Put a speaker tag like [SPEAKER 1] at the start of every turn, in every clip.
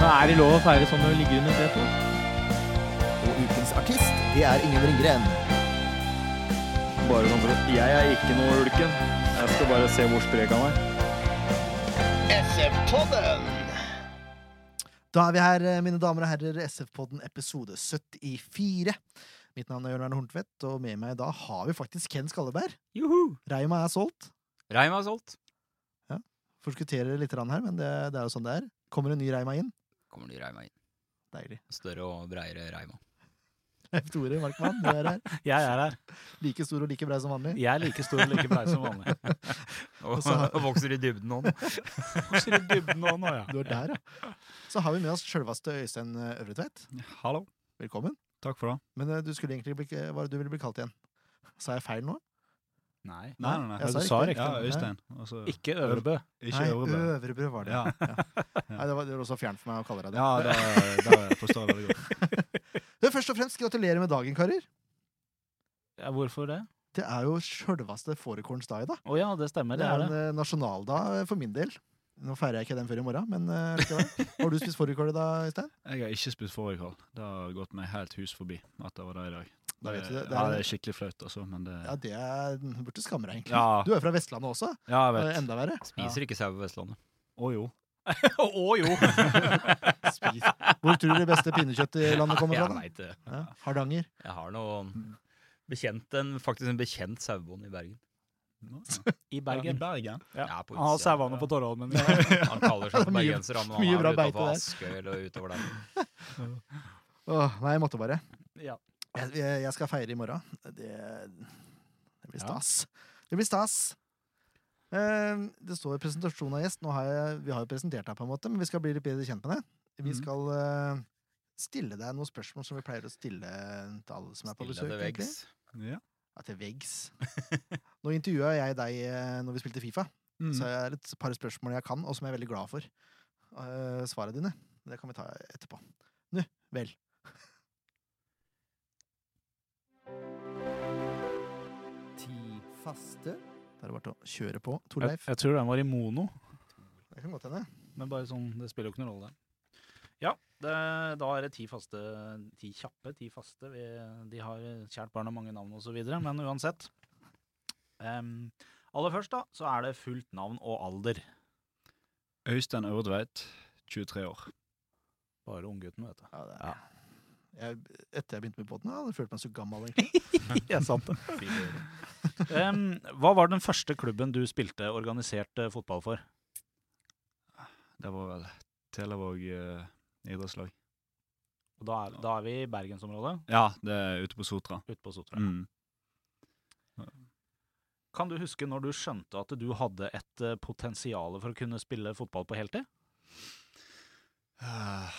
[SPEAKER 1] Er det lov å feire sånn når du ligger under setet?
[SPEAKER 2] Og ukens artist, det er Ingen Ringgren.
[SPEAKER 3] Bare sånn for at Jeg er ikke noe ulken. Jeg skal bare se hvor sprek han er.
[SPEAKER 4] Da er vi her, eh, mine damer og herrer, SF-podden episode 74. Mitt navn er Jørn Erne Horntvedt, og med meg i dag har vi faktisk Ken Skalleberg.
[SPEAKER 1] Juhu!
[SPEAKER 4] Reima er solgt.
[SPEAKER 1] Reim er solgt.
[SPEAKER 4] Forskutterer litt grann her, men det, det er jo sånn det er. Kommer en ny Reima inn?
[SPEAKER 1] Kommer ny reima inn.
[SPEAKER 4] Deilig.
[SPEAKER 1] Større og breiere reima.
[SPEAKER 4] Leif Tore Markmann, du er her.
[SPEAKER 5] Jeg er her.
[SPEAKER 4] Like stor og like brei som vanlig.
[SPEAKER 5] Jeg er like stor og like blei som vanlig.
[SPEAKER 1] Og,
[SPEAKER 4] så-
[SPEAKER 1] og vokser i dybden nå.
[SPEAKER 5] Vokser i dybden nå, nå, ja.
[SPEAKER 4] Du er der, ja. Så har vi med oss sjølveste Øystein eh, Øvretveit.
[SPEAKER 5] Hallo.
[SPEAKER 4] Velkommen.
[SPEAKER 5] Takk for det.
[SPEAKER 4] Men eh, du skulle egentlig bli, eh, hva er det du ville bli kalt igjen? Sa jeg feil nå?
[SPEAKER 5] Nei, nei, nei.
[SPEAKER 4] Jeg sa
[SPEAKER 5] Du sa
[SPEAKER 4] riktig.
[SPEAKER 5] riktig.
[SPEAKER 4] Ja, Øystein.
[SPEAKER 5] Altså, ikke Øvrebø.
[SPEAKER 4] Nei, Øvrebø var det.
[SPEAKER 5] Ja.
[SPEAKER 4] Nei, det var, det var også fjernt for meg å kalle deg det.
[SPEAKER 5] Ja, det, det forstår jeg veldig godt.
[SPEAKER 4] Du, først og fremst, gratulerer med dagen, karer.
[SPEAKER 5] Ja, hvorfor det?
[SPEAKER 4] Det er jo sjølveste fårikålens dag i dag.
[SPEAKER 5] Å ja, det stemmer.
[SPEAKER 4] Det
[SPEAKER 5] Det
[SPEAKER 4] er
[SPEAKER 5] er
[SPEAKER 4] en
[SPEAKER 5] det.
[SPEAKER 4] eh, nasjonaldag eh, for min del. Nå feirer jeg ikke den før i morgen, men eh, likevel. Har du spist fårikål i dag, Øystein?
[SPEAKER 5] Jeg har ikke spist fårikål. Det har gått meg helt hus forbi at det var det i dag.
[SPEAKER 4] Da vet du det. Det
[SPEAKER 5] ja,
[SPEAKER 4] er-
[SPEAKER 5] det er skikkelig flaut, altså. Men det
[SPEAKER 4] Ja, det er, du burde skamme deg, egentlig.
[SPEAKER 5] Ja,
[SPEAKER 4] Du er fra Vestlandet også.
[SPEAKER 5] ja jeg
[SPEAKER 4] Det er
[SPEAKER 5] vet.
[SPEAKER 4] enda verre.
[SPEAKER 1] Spiser ikke sau på Vestlandet.
[SPEAKER 5] Å jo.
[SPEAKER 1] Å jo!
[SPEAKER 4] Spis. Hvor tror du det beste pinnekjøttet i landet kommer
[SPEAKER 1] Jeg
[SPEAKER 4] fra? da?
[SPEAKER 1] veit det.
[SPEAKER 4] Ja, Hardanger.
[SPEAKER 1] Jeg har noen bekjent, en, faktisk en bekjent sauebonde i Bergen.
[SPEAKER 5] I
[SPEAKER 6] I Bergen.
[SPEAKER 1] Ja, på
[SPEAKER 7] Han har
[SPEAKER 1] utsida.
[SPEAKER 7] sauene på Torrholmen.
[SPEAKER 1] Han kaller
[SPEAKER 4] Mye-
[SPEAKER 1] seg for bergenser, han, men
[SPEAKER 4] mye
[SPEAKER 1] han
[SPEAKER 4] bra
[SPEAKER 1] er
[SPEAKER 4] beite
[SPEAKER 1] utafor
[SPEAKER 4] der.
[SPEAKER 1] Askøy eller utover der.
[SPEAKER 4] Åh, nei, jeg måtte bare.
[SPEAKER 7] Ja.
[SPEAKER 4] Jeg, jeg jeg skal feire i morgen. Det, det blir stas. Det blir stas. Eh, det står i presentasjonen av gjest. Nå har jeg, vi har jo presentert deg, på en måte, men vi skal bli litt bedre kjent med deg. Vi
[SPEAKER 5] Mhm.
[SPEAKER 4] skal eh, stille deg noen spørsmål som vi pleier å stille til alle som er på
[SPEAKER 1] Stille
[SPEAKER 4] besøk.
[SPEAKER 1] til veggs.
[SPEAKER 4] egentlig.
[SPEAKER 5] Ja.
[SPEAKER 4] Ja, til veggs. Nå intervjua jeg deg eh, når vi spilte Fifa,
[SPEAKER 5] Mm.
[SPEAKER 4] så jeg har et par spørsmål jeg kan, og som jeg er veldig glad for. Uh, svaret dine. Det kan vi ta etterpå. Nu, vel.
[SPEAKER 2] Ti faste.
[SPEAKER 4] Da er det bare til å kjøre på.
[SPEAKER 5] Jeg,
[SPEAKER 4] Torleif,
[SPEAKER 5] jeg tror den var i mono.
[SPEAKER 4] det kan godt hende.
[SPEAKER 5] Men bare sånn, det spiller jo ikke noen rolle der. Ja, det, da er det ti faste, ti kjappe, ti faste. Vi, de har kjært barn og mange navn osv., men uansett. Em, aller først, da, så er det fullt navn og alder.
[SPEAKER 6] Øystein Ørdveit, 23 år.
[SPEAKER 5] Bare unggutten, vet du.
[SPEAKER 4] Ja, det er. Jeg, etter jeg begynte med podden, hadde jeg følt meg så gammel, egentlig.
[SPEAKER 5] Jeg sant det. Em, hva var den første klubben du spilte organisert eh, fotball for?
[SPEAKER 6] Det var vel Televåg eh, idrettslag.
[SPEAKER 5] Og da, er, da er vi i bergensområdet,
[SPEAKER 6] Ja, det er ute på Sotra.
[SPEAKER 5] ute på Sotra.
[SPEAKER 6] Mm.
[SPEAKER 5] Kan du huske når du skjønte at du hadde et eh, potensial for å kunne spille fotball på heltid?
[SPEAKER 6] Eh,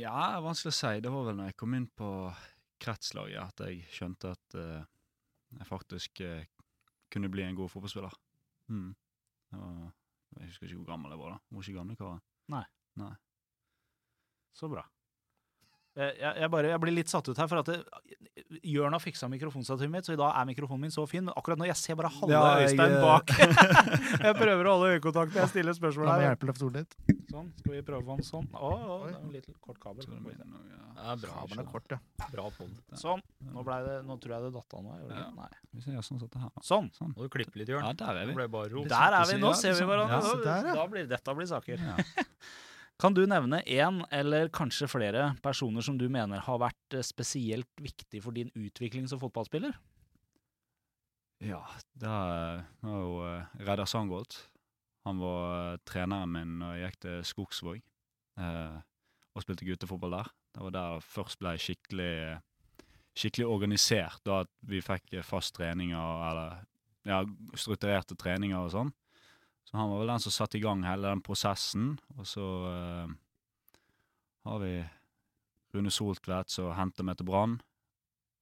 [SPEAKER 6] ja, vanskelig å si. Det var vel når jeg kom inn på kretslaget at jeg skjønte at eh, jeg faktisk eh, kunne bli en god fotballspiller. Mm. Det var, jeg husker ikke hvor gammel jeg var da. Jeg var ikke gammel karen.
[SPEAKER 5] Så bra. Eh, Jeg, jeg, bare, jeg blir litt satt ut her, for at det- Jørn har fiksa mikrofonstativet mitt, så i dag er mikrofonen min så fin. Men akkurat nå jeg ser bare halve
[SPEAKER 6] Ja, jeg,
[SPEAKER 5] Øystein
[SPEAKER 6] eh,
[SPEAKER 5] bak. jeg prøver å holde øyekontakt når jeg stiller
[SPEAKER 4] La
[SPEAKER 5] spørsmål
[SPEAKER 4] meg
[SPEAKER 5] her.
[SPEAKER 4] hjelpe Leif Tore litt.
[SPEAKER 5] Sånn, skal vi prøve om sånn? Å, å, det er en liten kort kabel.
[SPEAKER 6] Tror det blir noe, ja.
[SPEAKER 1] Det er bra,
[SPEAKER 4] Kabelen er kort, ja.
[SPEAKER 1] bra podd.
[SPEAKER 5] Sånn. Nå, ble det, nå tror jeg det datt av nå. gjorde det ikke? Nei.
[SPEAKER 6] Hvis jeg gjør sånn som dette her da.
[SPEAKER 5] Sånn.
[SPEAKER 1] Må du klippe litt, Jørn.
[SPEAKER 6] Ja, der er
[SPEAKER 1] Det
[SPEAKER 6] vi.
[SPEAKER 1] ble bare ro.
[SPEAKER 6] Litt
[SPEAKER 5] Der er
[SPEAKER 6] sånn
[SPEAKER 5] vi.
[SPEAKER 6] på
[SPEAKER 5] Nå
[SPEAKER 6] siden,
[SPEAKER 5] ser vi
[SPEAKER 6] liksom.
[SPEAKER 5] hverandre.
[SPEAKER 6] Ja,
[SPEAKER 4] så
[SPEAKER 5] Da,
[SPEAKER 4] der, ja.
[SPEAKER 5] da blir, dette blir saker.
[SPEAKER 6] Ja.
[SPEAKER 5] Kan du nevne én eller kanskje flere personer som du mener har vært eh, spesielt viktig for din utvikling som fotballspiller?
[SPEAKER 6] Ja, det er- det var jo eh, Reidar Sandholt. Han var eh, treneren min når jeg gikk til Skogsvåg eh, og spilte guttefotball der. Det var der jeg først ble skikkelig, eh, skikkelig organisert, da at vi fikk eh, fast treninger eller ja, strukturerte treninger og sånn. Så han var vel den som satte i gang hele den prosessen. Og så eh, har vi Rune Soltvedt som henter meg til Brann,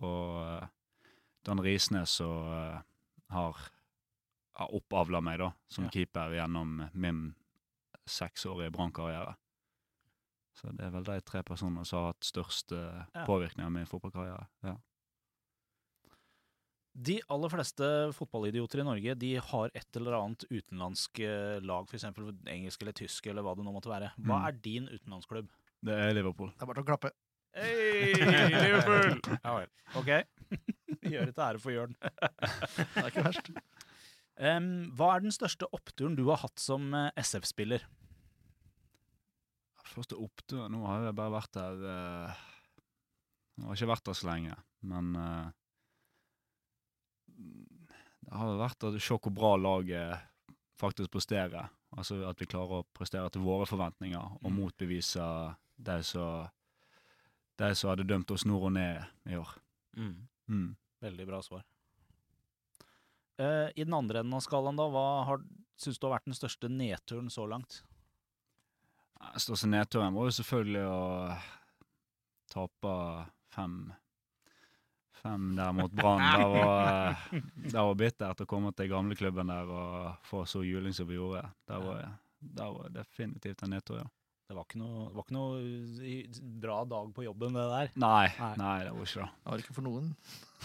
[SPEAKER 6] og eh, Dan Risnes som eh, har, har oppavla meg da, som
[SPEAKER 5] Ja.
[SPEAKER 6] keeper gjennom min seksårige Brann-karriere. Så det er vel de tre personene som har hatt størst eh,
[SPEAKER 5] Ja.
[SPEAKER 6] påvirkning av min fotballkarriere. Ja.
[SPEAKER 5] De aller fleste fotballidioter i Norge de har et eller annet utenlandsk eh, lag, f.eks. engelsk eller tysk eller hva det nå måtte være. Hva
[SPEAKER 6] Mm.
[SPEAKER 5] er din utenlandsklubb?
[SPEAKER 6] Det er Liverpool.
[SPEAKER 8] Det er bare til å klappe.
[SPEAKER 5] Hey, Liverpool! ja vel. Ok. Gjør det til ære for Jørn.
[SPEAKER 8] Det er ikke verst.
[SPEAKER 5] Em, hva er den største oppturen du har hatt som eh, SF-spiller?
[SPEAKER 6] Første opptur Nå har jeg bare vært her eh, Jeg har ikke vært her så lenge, men eh, Det har vel vært at se hvor bra laget faktisk presterer. Altså at vi klarer å prestere til våre forventninger og
[SPEAKER 5] Mm.
[SPEAKER 6] motbevise de som de som hadde dømt oss nord og ned i år. Mm.
[SPEAKER 5] Veldig bra svar. Eh, I den andre enden av skalaen, da, hva syns du har vært den største nedturen så langt?
[SPEAKER 6] Den Største nedturen var jo selvfølgelig å tape fem Fem der mot Brann. Det var, det var bittert å komme til gamleklubben der og få så juling som vi gjorde. Det var, det var definitivt en nedtur, ja.
[SPEAKER 5] Det var ikke noe, det var ikke noe eh, bra dag på jobben, det der.
[SPEAKER 6] Nei,
[SPEAKER 5] Nei.
[SPEAKER 6] nei, det var ikke det.
[SPEAKER 8] Jeg har ikke for noen.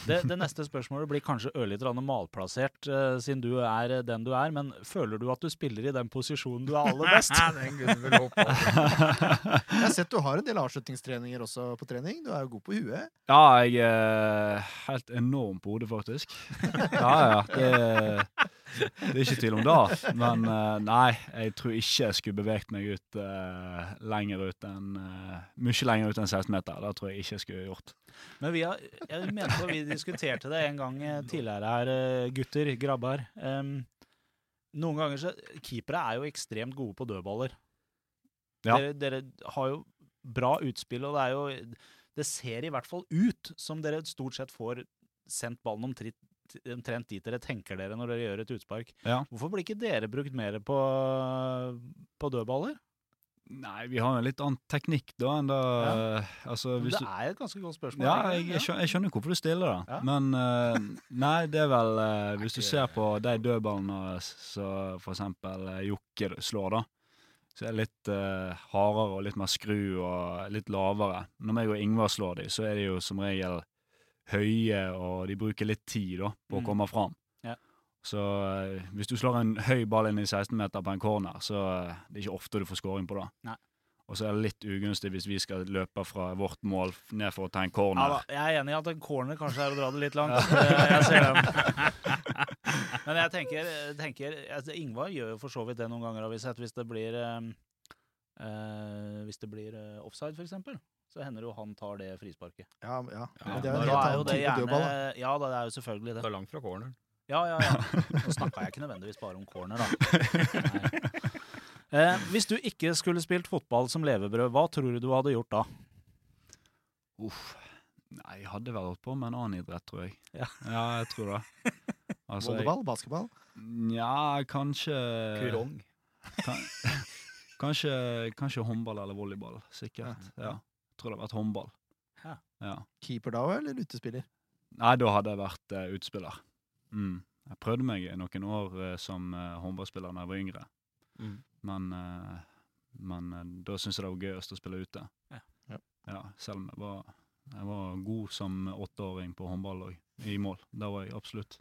[SPEAKER 5] Det, det neste spørsmålet blir kanskje ørlite grann malplassert, eh, siden du er eh, den du er, men føler du at du spiller i den posisjonen du er aller best?
[SPEAKER 8] den kunne vel håpe Jeg har sett du har en del avslutningstreninger også på trening. Du er jo god på huet.
[SPEAKER 6] Ja, jeg er helt enorm på hodet, faktisk. Ja, ja. Det, det er ikke tvil om det. Men eh, nei, jeg tror ikke jeg skulle beveget meg ut eh, lenger ut enn eh, Mye lenger ut enn 16 meter. Det tror jeg ikke jeg skulle gjort.
[SPEAKER 5] Men vi har, jeg mente at vi diskuterte det en gang eh, tidligere her, eh, gutter, grabbar. Em, noen ganger så Keepere er jo ekstremt gode på dødballer.
[SPEAKER 6] Ja.
[SPEAKER 5] Dere, dere har jo bra utspill, og det er jo Det ser i hvert fall ut som dere stort sett får sendt ballen omtrent, omtrent dit dere tenker dere når dere gjør et utspark.
[SPEAKER 6] Ja.
[SPEAKER 5] Hvorfor blir ikke dere brukt mer på, på dødballer?
[SPEAKER 6] Nei, vi har jo en litt annen teknikk da enn det eh, Altså, hvis
[SPEAKER 5] Det
[SPEAKER 6] du
[SPEAKER 5] er et ganske godt spørsmål.
[SPEAKER 6] Ja, jeg,
[SPEAKER 5] egentlig.
[SPEAKER 6] jeg, skjønner, jeg skjønner hvorfor du stiller det.
[SPEAKER 5] Ja.
[SPEAKER 6] Men eh, nei, det er vel eh, Hvis du ser på de dødballene som for eksempel eh, Jokke slår, da. Så er det litt eh, hardere og litt mer skru og litt lavere. Når meg og Ingvar slår de, så er de jo som regel høye, og de bruker litt tid da på å
[SPEAKER 5] Mm.
[SPEAKER 6] komme fram.
[SPEAKER 5] Ja.
[SPEAKER 6] Så eh, hvis du slår en høy ball inn i 16-meter på en corner, så eh, det er ikke ofte du får scoring på det.
[SPEAKER 5] Nei.
[SPEAKER 6] Og så er det litt ugunstig hvis vi skal løpe fra vårt mål f- ned for å ta en
[SPEAKER 5] Ja,
[SPEAKER 6] corner.
[SPEAKER 5] da, jeg er enig i at en corner kanskje er å dra det litt langt. Eh, Jeg ser den. Men jeg tenker, tenker altså Ingvar gjør jo for så vidt det noen ganger, har vi sett. Hvis det blir, eh, eh, hvis det blir eh, offside, f.eks., så hender det jo han tar det frisparket.
[SPEAKER 8] Ja, ja. Men
[SPEAKER 5] Da
[SPEAKER 8] det er jo en helt
[SPEAKER 5] er jo
[SPEAKER 8] annen
[SPEAKER 5] det
[SPEAKER 8] type
[SPEAKER 5] gjerne
[SPEAKER 8] dødball. da.
[SPEAKER 5] Ja da, det er jo selvfølgelig det.
[SPEAKER 1] Det er langt fra corneren.
[SPEAKER 5] Ja, ja, ja. Nå snakka jeg ikke nødvendigvis bare om corner, da. Nei. Eh, hvis du ikke skulle spilt fotball som levebrød, hva tror du du hadde gjort da?
[SPEAKER 6] Uff. Nei, jeg hadde vel holdt på med en annen idrett, tror jeg.
[SPEAKER 5] Ja.
[SPEAKER 6] jeg tror det. Altså, jeg-
[SPEAKER 8] Volleyball, basketball.
[SPEAKER 6] Nja, kanskje
[SPEAKER 1] Kurong.
[SPEAKER 6] Kan, kanskje, kanskje håndball eller volleyball, sikkert. Ja. Tror det hadde vært håndball.
[SPEAKER 5] Ja.
[SPEAKER 8] Keeper da eller utespiller?
[SPEAKER 6] Nei, da hadde jeg vært eh, utspiller. Mm. Jeg prøvde meg i noen år eh, som eh, håndballspiller da jeg var yngre,
[SPEAKER 1] Mm.
[SPEAKER 6] men, eh, men eh, da syntes jeg det var gøyest å spille ute.
[SPEAKER 5] Ja.
[SPEAKER 8] Ja.
[SPEAKER 6] Ja, selv om jeg var, jeg var god som åtteåring på håndball òg, i mål. Det var jeg absolutt.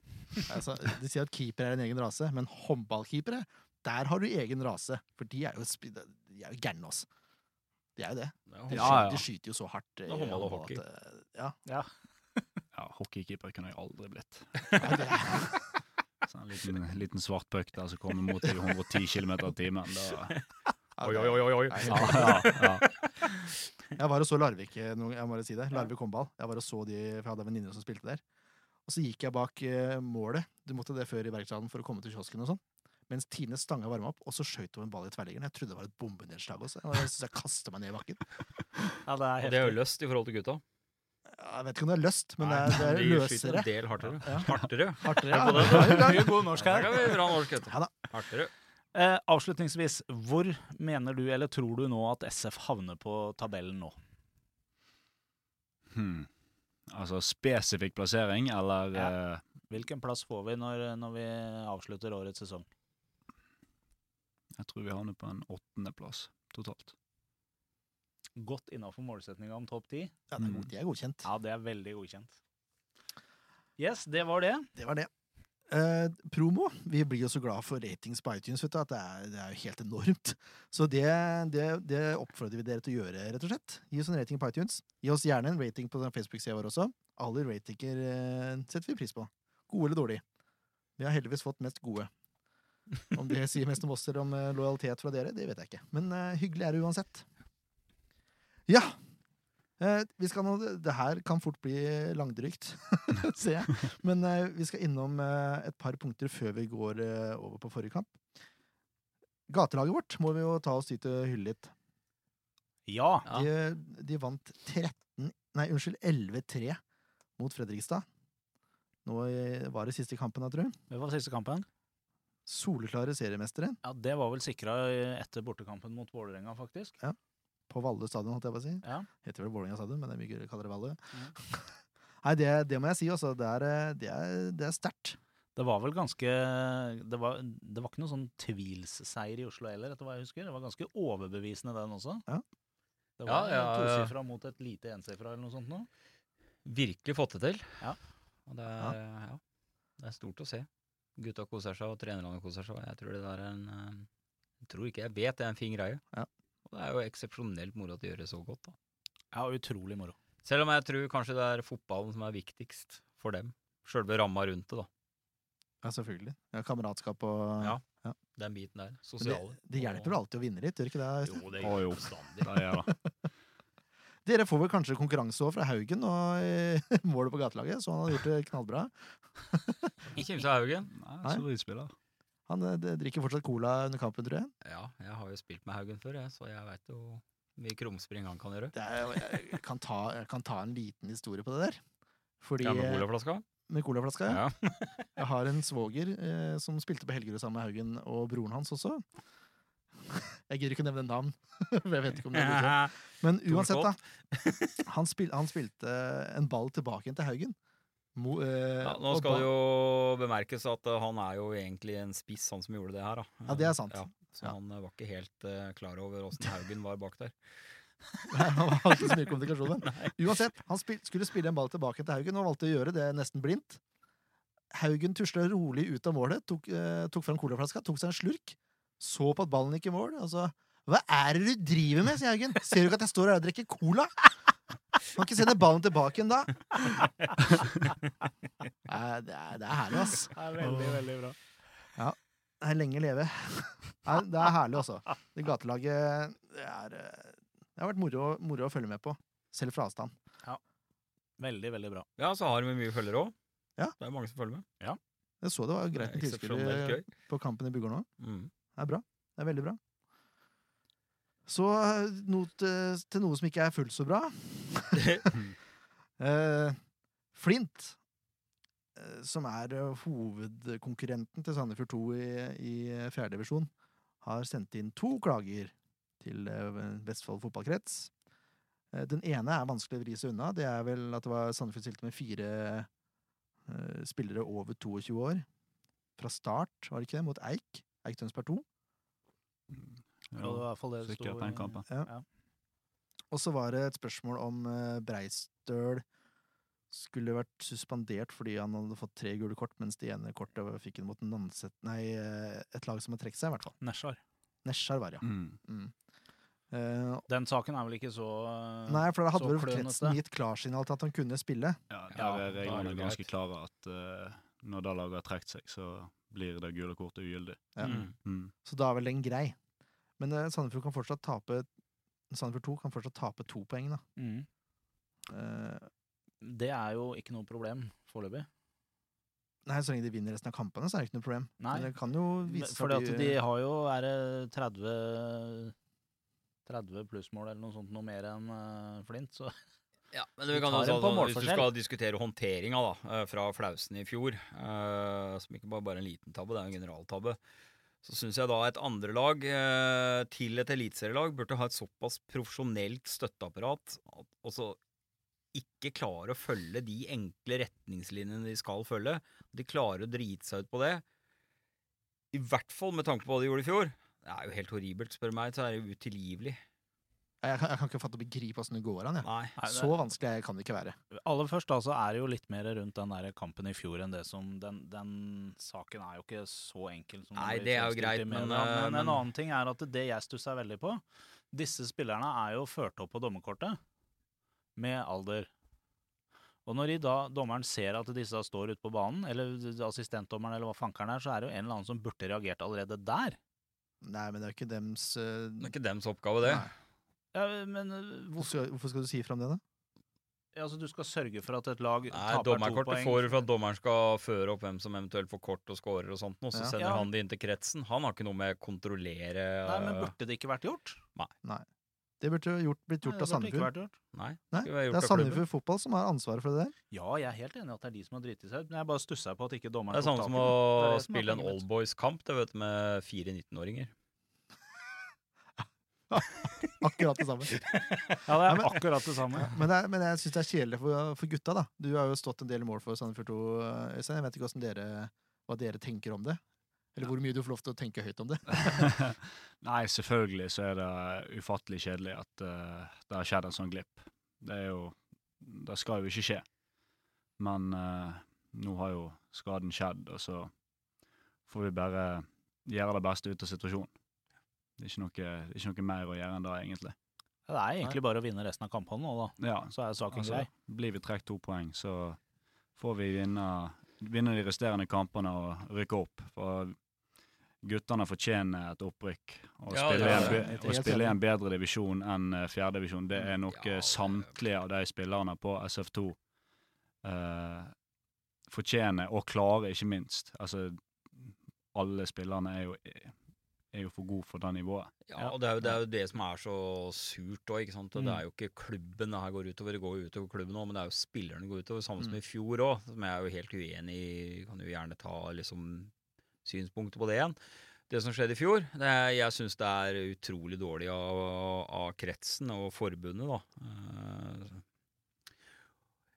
[SPEAKER 8] Altså, de sier at keeper er en egen rase, men håndballkeepere, der har du egen rase. For de er jo, sp- de er jo gærne, altså. De er jo det. De,
[SPEAKER 6] Ja,
[SPEAKER 8] skyter,
[SPEAKER 6] ja.
[SPEAKER 8] de skyter jo så hardt. eh,
[SPEAKER 1] er håndball og
[SPEAKER 8] håndball
[SPEAKER 1] hockey.
[SPEAKER 8] at, eh, ja.
[SPEAKER 6] Ja, Hockeykeeper kunne jeg aldri blitt. Sånn en liten, liten svart puck der som kommer mot deg i 110 km i timen. Da,
[SPEAKER 8] Ja,
[SPEAKER 1] Oi,
[SPEAKER 8] det-
[SPEAKER 1] oi, oi, oi.
[SPEAKER 8] Nei,
[SPEAKER 6] ja, ja, ja.
[SPEAKER 8] Jeg var og så Larvik eh, noen jeg må bare si det, Larvik håndball. Jeg var og så de, for jeg hadde en venninne som spilte der. Og så gikk jeg bak eh, målet. Du måtte det før i verkstedet for å komme til kiosken og sånn. Mens Tine stanga varma opp, og så skjøt hun en ball i tverrliggeren. Jeg trodde det var et bombenedslag også. Jeg synes jeg kastet meg ned i bakken.
[SPEAKER 5] Ja, det
[SPEAKER 1] Og det er jo løst i forhold til gutta.
[SPEAKER 8] Ja, Jeg vet ikke om det er løst, men det er, det er
[SPEAKER 1] de skyter
[SPEAKER 8] løsere.
[SPEAKER 1] en del hardere.
[SPEAKER 8] Ja.
[SPEAKER 1] Hardere.
[SPEAKER 8] Hardere.
[SPEAKER 1] på det,
[SPEAKER 8] Ja, ja, ja.
[SPEAKER 5] mye god norsk
[SPEAKER 1] Her
[SPEAKER 5] her.
[SPEAKER 1] kan vi bra norsk, vet
[SPEAKER 8] Ja da.
[SPEAKER 1] du. Hardere.
[SPEAKER 5] Eh, avslutningsvis, hvor mener du, eller tror du nå at SF havner på tabellen nå?
[SPEAKER 6] Hmm. Altså spesifikk plassering, eller
[SPEAKER 5] Ja.
[SPEAKER 6] eh,
[SPEAKER 5] Hvilken plass får vi når, når vi avslutter årets sesong?
[SPEAKER 6] Jeg tror vi havner på en åttendeplass totalt.
[SPEAKER 5] Godt innafor målsetninga om topp ti.
[SPEAKER 4] Ja, det er, god- de er godkjent.
[SPEAKER 5] Ja, det er veldig godkjent. Yes, det var det.
[SPEAKER 4] Det var det. Eh, promo. Vi blir jo så glad for ratings på iTunes, vet du, at det er, det er jo helt enormt. Så det, det, det oppfordrer vi dere til å gjøre, rett og slett. Gi oss en rating på iTunes. Gi oss gjerne en rating på den Facebook-sida vår også. Alle ratinger eh, setter vi pris på. Gode eller dårlige. Vi har heldigvis fått mest gode. Om det sier mest om oss eller om eh, lojalitet fra dere, det vet jeg ikke. Men eh, hyggelig er det uansett. Ja. Eh, vi skal nå, det her kan fort bli langdrygt, ser jeg. Men eh, vi skal innom eh, et par punkter før vi går eh, over på forrige kamp. Gatelaget vårt må vi jo ta oss tid til å hylle litt.
[SPEAKER 5] Ja.
[SPEAKER 1] Ja.
[SPEAKER 4] De, de vant 13 Nei, unnskyld, 11-3 mot Fredrikstad. Nå eh, var det siste kampen, jeg tror.
[SPEAKER 5] Det var siste kampen.
[SPEAKER 4] Soleklare seriemestere
[SPEAKER 5] Ja, Det var vel sikra etter bortekampen mot Vålerenga, faktisk.
[SPEAKER 4] på Valle stadion, holdt jeg på å si.
[SPEAKER 5] Ja.
[SPEAKER 4] Heter vel Vålerenga stadion, men det er mye gøyere å kalle det Valle.
[SPEAKER 1] Mm.
[SPEAKER 4] Nei, det, det må jeg si, altså. Det er, eh, det er, det er sterkt.
[SPEAKER 5] Det var vel ganske det var, det var ikke noen sånn tvilsseier i Oslo heller, etter hva jeg husker. Det var ganske overbevisende, den også.
[SPEAKER 4] Ja.
[SPEAKER 5] Det var
[SPEAKER 1] Ja, ja, ja.
[SPEAKER 5] tosifra mot et lite ensifra eller noe sånt nå.
[SPEAKER 1] Virkelig fått det til.
[SPEAKER 5] Ja.
[SPEAKER 1] Og det er, ja. det er stort å se. Gutta koser seg, og trenerne koser seg. og Jeg tror det der er en eh, Jeg tror ikke jeg vet, det er en fin greie.
[SPEAKER 4] Ja.
[SPEAKER 1] Og det er jo eksepsjonelt moro at de gjør det så godt, da.
[SPEAKER 5] Ja, utrolig moro.
[SPEAKER 1] Selv om jeg tror kanskje det er fotballen som er viktigst for dem. Sjølve ramma rundt det, da.
[SPEAKER 4] Ja, selvfølgelig. Ja, kameratskap og
[SPEAKER 1] Ja.
[SPEAKER 4] ja.
[SPEAKER 1] Den biten der.
[SPEAKER 4] Men det,
[SPEAKER 1] Sosiale.
[SPEAKER 4] det hjelper vel alltid å vinne litt, gjør ikke det? Øystein?
[SPEAKER 1] Jo, det
[SPEAKER 6] Å,
[SPEAKER 1] gjør
[SPEAKER 6] jo.
[SPEAKER 1] det bestandig.
[SPEAKER 6] Der er det.
[SPEAKER 4] Dere får vel kanskje konkurranse også fra Haugen og eh, målet på gatelaget, så han har gjort det knallbra.
[SPEAKER 1] Kimse Haugen.
[SPEAKER 6] Nei, så de spiller.
[SPEAKER 4] Han eh, d- drikker fortsatt cola under kampen, tror jeg.
[SPEAKER 1] Ja, jeg har jo spilt med Haugen før, jeg, så jeg veit jo hvor mye krumspring han kan gjøre.
[SPEAKER 4] Det er, jeg, kan ta, jeg kan ta en liten historie på det der. Fordi,
[SPEAKER 1] Ja, med
[SPEAKER 4] eh,
[SPEAKER 1] colaflaska?
[SPEAKER 4] med colaflaska, ja.
[SPEAKER 1] Ja.
[SPEAKER 4] Jeg har en svoger eh, som spilte på Helgerud sammen med Haugen og broren hans også. Jeg gidder ikke å nevne navn, for jeg vet ikke om det blir sånn. Men uansett, da. Han, spil, han spilte en ball tilbake igjen til Haugen. Mo, eh,
[SPEAKER 1] Ja, nå
[SPEAKER 4] og
[SPEAKER 1] skal
[SPEAKER 4] ba-
[SPEAKER 1] det jo bemerkes at eh, han er jo egentlig en spiss, han som gjorde det her. Da.
[SPEAKER 4] Ja, det er sant.
[SPEAKER 1] Ja, så
[SPEAKER 4] Ja.
[SPEAKER 1] han eh, var ikke helt eh, klar over åssen Haugen var bak der.
[SPEAKER 4] Nei, han hadde ikke så mye kommunikasjon. Men. Uansett, han spil skulle spille en ball tilbake til Haugen, og valgte å gjøre det nesten blindt. Haugen tusla rolig ut av målet, tok, eh, tok fram colaflaska, tok seg en slurk, så på at ballen gikk i mål, og så Hva er det du driver med, sier Haugen. Ser du ikke at jeg står her og drikker cola? Kan ikke sende ballen tilbake igjen da. Nei, Det er, det er herlig, ass.
[SPEAKER 5] Det er veldig, veldig bra.
[SPEAKER 4] Nei, lenge leve. Nei, det er herlig, altså. Det gatelaget det, er, eh, det har vært moro, moro å følge med på. Selv fra avstand.
[SPEAKER 5] Veldig, veldig bra.
[SPEAKER 1] Ja, så har vi mye følgere òg.
[SPEAKER 4] Ja.
[SPEAKER 1] Det er mange som følger med.
[SPEAKER 4] Jeg så det var greit
[SPEAKER 1] Det
[SPEAKER 4] med
[SPEAKER 1] er Eksepsjonelt
[SPEAKER 4] tilskuere
[SPEAKER 1] gøy.
[SPEAKER 4] på kampen i Bugård nå.
[SPEAKER 1] Mm.
[SPEAKER 4] Det er bra. Det er veldig bra. Så eh, noe til, til noe som ikke er fullt så bra. Eh, Flint, eh, som er eh, hovedkonkurrenten til Sandefjord 2 i, i fjerdedivisjon, har sendt inn to klager til eh, Vestfold fotballkrets. Eh, Den ene er vanskelig å vri seg unna. Det er vel at det var Sandefjord stilte med fire eh, spillere over 22 år fra start, var det ikke det, mot Eik? Eik Tønsberg 2.
[SPEAKER 5] Det var i hvert fall det det
[SPEAKER 6] Sikkert
[SPEAKER 5] sto
[SPEAKER 6] den
[SPEAKER 5] i-
[SPEAKER 6] kampen.
[SPEAKER 5] Ja.
[SPEAKER 4] Og så var det et spørsmål om eh, Breistøl skulle vært suspendert fordi han hadde fått tre gule kort, mens det ene kortet var- fikk han mot Nanset Nei, eh, et lag som har trukket seg, i hvert fall.
[SPEAKER 5] Nesjar.
[SPEAKER 4] Nesjar var det, ja.
[SPEAKER 6] Mm.
[SPEAKER 4] Mm. Eh,
[SPEAKER 5] Den saken er vel ikke så eh,
[SPEAKER 4] nei, for da hadde
[SPEAKER 5] Så
[SPEAKER 4] vel
[SPEAKER 5] klønete.
[SPEAKER 4] kretsen gitt klarsignal til at han kunne spille.
[SPEAKER 6] Ja, der
[SPEAKER 1] Ja, da er
[SPEAKER 6] er
[SPEAKER 1] det
[SPEAKER 6] reglene ganske
[SPEAKER 1] greit.
[SPEAKER 6] klare at eh, når det laget har trukket seg, så blir det gule kortet ugyldig.
[SPEAKER 4] Ja.
[SPEAKER 1] Mm.
[SPEAKER 6] Mm.
[SPEAKER 4] Så da er vel den grei. Men eh, Sandefjord kan fortsatt tape Sandefjord 2 kan fortsatt tape to poeng, da.
[SPEAKER 5] Mm.
[SPEAKER 4] Eh,
[SPEAKER 5] Det er jo ikke noe problem foreløpig.
[SPEAKER 4] nei, så lenge de vinner resten av kampene, så er det ikke noe problem.
[SPEAKER 5] Nei.
[SPEAKER 4] Men det kan jo vise seg
[SPEAKER 5] Fordi at de har jo er det 30 30 plussmål eller noe sånt noe mer enn eh, Flint, så
[SPEAKER 1] Ja, men
[SPEAKER 5] Vi
[SPEAKER 1] vi kan
[SPEAKER 5] tar
[SPEAKER 1] jo
[SPEAKER 5] en på
[SPEAKER 1] ta det, Hvis du
[SPEAKER 5] målforskjell.
[SPEAKER 1] skal diskutere håndteringa da, eh, fra Flausen i fjor, eh, som ikke bare bare er en liten tabbe, det er en generaltabbe, så syns jeg da et andrelag eh, til et eliteserielag burde ha et såpass profesjonelt støtteapparat at også ikke klarer å følge de enkle retningslinjene de skal følge. De klarer å drite seg ut på det. I hvert fall med tanke på hva de gjorde i fjor. Det er jo helt horribelt, spør du meg. Så er det jo utilgivelig.
[SPEAKER 4] Jeg kan, jeg kan ikke fatte og begripe åssen det går an. jeg.
[SPEAKER 1] Nei.
[SPEAKER 5] Nei, det-
[SPEAKER 4] Så vanskelig kan det ikke være.
[SPEAKER 5] Aller først da, så er det jo litt mer rundt den der kampen i fjor enn det som Den, den saken er jo ikke så enkel. Som den
[SPEAKER 1] Nei,
[SPEAKER 5] blir
[SPEAKER 1] det er jo
[SPEAKER 5] fremstilt i
[SPEAKER 1] greit, men,
[SPEAKER 5] media.
[SPEAKER 1] øh,
[SPEAKER 5] men,
[SPEAKER 1] men-
[SPEAKER 5] en annen ting er at det jeg stussa veldig på Disse spillerne er jo ført opp på dommerkortet med alder. Og når de da, dommeren ser at disse da står ute på banen, eller assistentdommeren eller hva fankeren er, så er det jo en eller annen som burde reagert allerede der.
[SPEAKER 4] Nei, men det er jo ikke dems eh,
[SPEAKER 1] Det er ikke dems oppgave, det.
[SPEAKER 4] Nei.
[SPEAKER 5] Ja, men øh,
[SPEAKER 4] Hvorfor
[SPEAKER 5] hvorfor,
[SPEAKER 4] skal, hvorfor skal du si ifra om det, da?
[SPEAKER 5] altså, du skal sørge for at et lag
[SPEAKER 1] Nei,
[SPEAKER 5] taper to
[SPEAKER 1] Dommerkortet
[SPEAKER 5] poeng.
[SPEAKER 1] får du for at dommeren skal føre opp hvem som eventuelt får kort og scorer og sånt, og så
[SPEAKER 4] Ja.
[SPEAKER 1] sender
[SPEAKER 5] Ja.
[SPEAKER 1] han det inn til kretsen. Han har ikke noe med å kontrollere eh,
[SPEAKER 5] Nei, men burde det ikke vært gjort?
[SPEAKER 4] Det burde jo gjort, blitt
[SPEAKER 5] Nei,
[SPEAKER 4] gjort av
[SPEAKER 5] det burde ikke
[SPEAKER 4] Sandefjord.
[SPEAKER 5] vært gjort.
[SPEAKER 1] Nei,
[SPEAKER 4] Nei,
[SPEAKER 1] skulle vært
[SPEAKER 4] Det
[SPEAKER 1] gjort
[SPEAKER 4] er
[SPEAKER 1] av klubben.
[SPEAKER 4] Sandefjord Fotball som har ansvaret for det der.
[SPEAKER 5] Ja, jeg er helt enig i at det er de som har driti seg ut, men jeg bare stussa på at ikke
[SPEAKER 1] Det
[SPEAKER 5] dommeren
[SPEAKER 1] er samme som
[SPEAKER 5] Det er
[SPEAKER 1] å
[SPEAKER 5] det som er
[SPEAKER 1] spille
[SPEAKER 5] poenget
[SPEAKER 1] en
[SPEAKER 5] mitt.
[SPEAKER 1] oldboys-kamp det vet du, med fire 19-åringer.
[SPEAKER 4] Akkurat det samme.
[SPEAKER 5] Ja, det
[SPEAKER 4] Nei,
[SPEAKER 5] er
[SPEAKER 4] men-
[SPEAKER 5] akkurat det samme.
[SPEAKER 4] Men, det er, men jeg syns det er kjedelig for, for gutta, da. Du har jo stått en del mål for Sandefjord 2, eh, Øystein. Jeg vet ikke hvordan dere, hva dere tenker om det. Eller hvor mye du får lov til å tenke høyt om det.
[SPEAKER 6] Nei, selvfølgelig så er det ufattelig kjedelig at eh, det har skjedd en sånn glipp. Det er jo Det skal jo ikke skje. Men eh, nå har jo skaden skjedd, og så får vi bare gjøre det beste ut av situasjonen. Det er ikke noe, det er ikke noe mer å gjøre enn det, egentlig.
[SPEAKER 5] Det er egentlig bare å vinne resten av kampene nå, da.
[SPEAKER 6] Ja,
[SPEAKER 5] Så er saken
[SPEAKER 6] altså,
[SPEAKER 5] grei.
[SPEAKER 6] blir vi trukket to poeng, så får vi vinne, vinne de resterende kampene og rykke opp. For guttene fortjener et opprykk. Og
[SPEAKER 1] Ja, ja,
[SPEAKER 6] spille, i
[SPEAKER 1] ja.
[SPEAKER 6] en be-
[SPEAKER 4] Helt
[SPEAKER 6] å
[SPEAKER 4] enig.
[SPEAKER 6] spille i en bedre divisjon enn eh, fjerde divisjon, det er noe
[SPEAKER 1] Ja, det-
[SPEAKER 6] samtlige av de spillerne på SF2 eh, fortjener, og klarer, ikke minst. Altså, alle spillerne er jo, er jo for gode for det nivået.
[SPEAKER 1] Ja, Mm. og det er, jo, det er jo det som er så surt òg, ikke sant. Og Det er jo ikke klubben det her går utover, det går jo utover klubben òg, men det er jo spillerne det går utover. Samme som i fjor òg, som jeg er jo helt uenig i. Kan jo gjerne ta liksom synspunktet på det igjen. Det som skjedde i fjor, det er, jeg syns det er utrolig dårlig av, av kretsen og forbundet, da. Eh,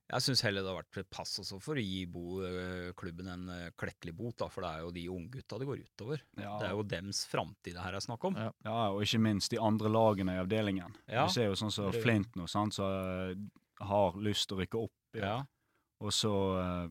[SPEAKER 1] Jeg syns heller det har vært et pass også for å gi bo, eh, klubben en eh, klekkelig bot, da, for det er jo de unggutta det går utover. Det er jo dems framtid det her er snakk om.
[SPEAKER 4] Ja.
[SPEAKER 6] Ja, og ikke minst de andre lagene i avdelingen.
[SPEAKER 1] Ja.
[SPEAKER 6] Vi ser jo sånn som
[SPEAKER 1] Det-
[SPEAKER 6] Flint nå, sant, som eh, har lyst til å rykke opp. i det.
[SPEAKER 1] Ja.
[SPEAKER 6] Og så eh,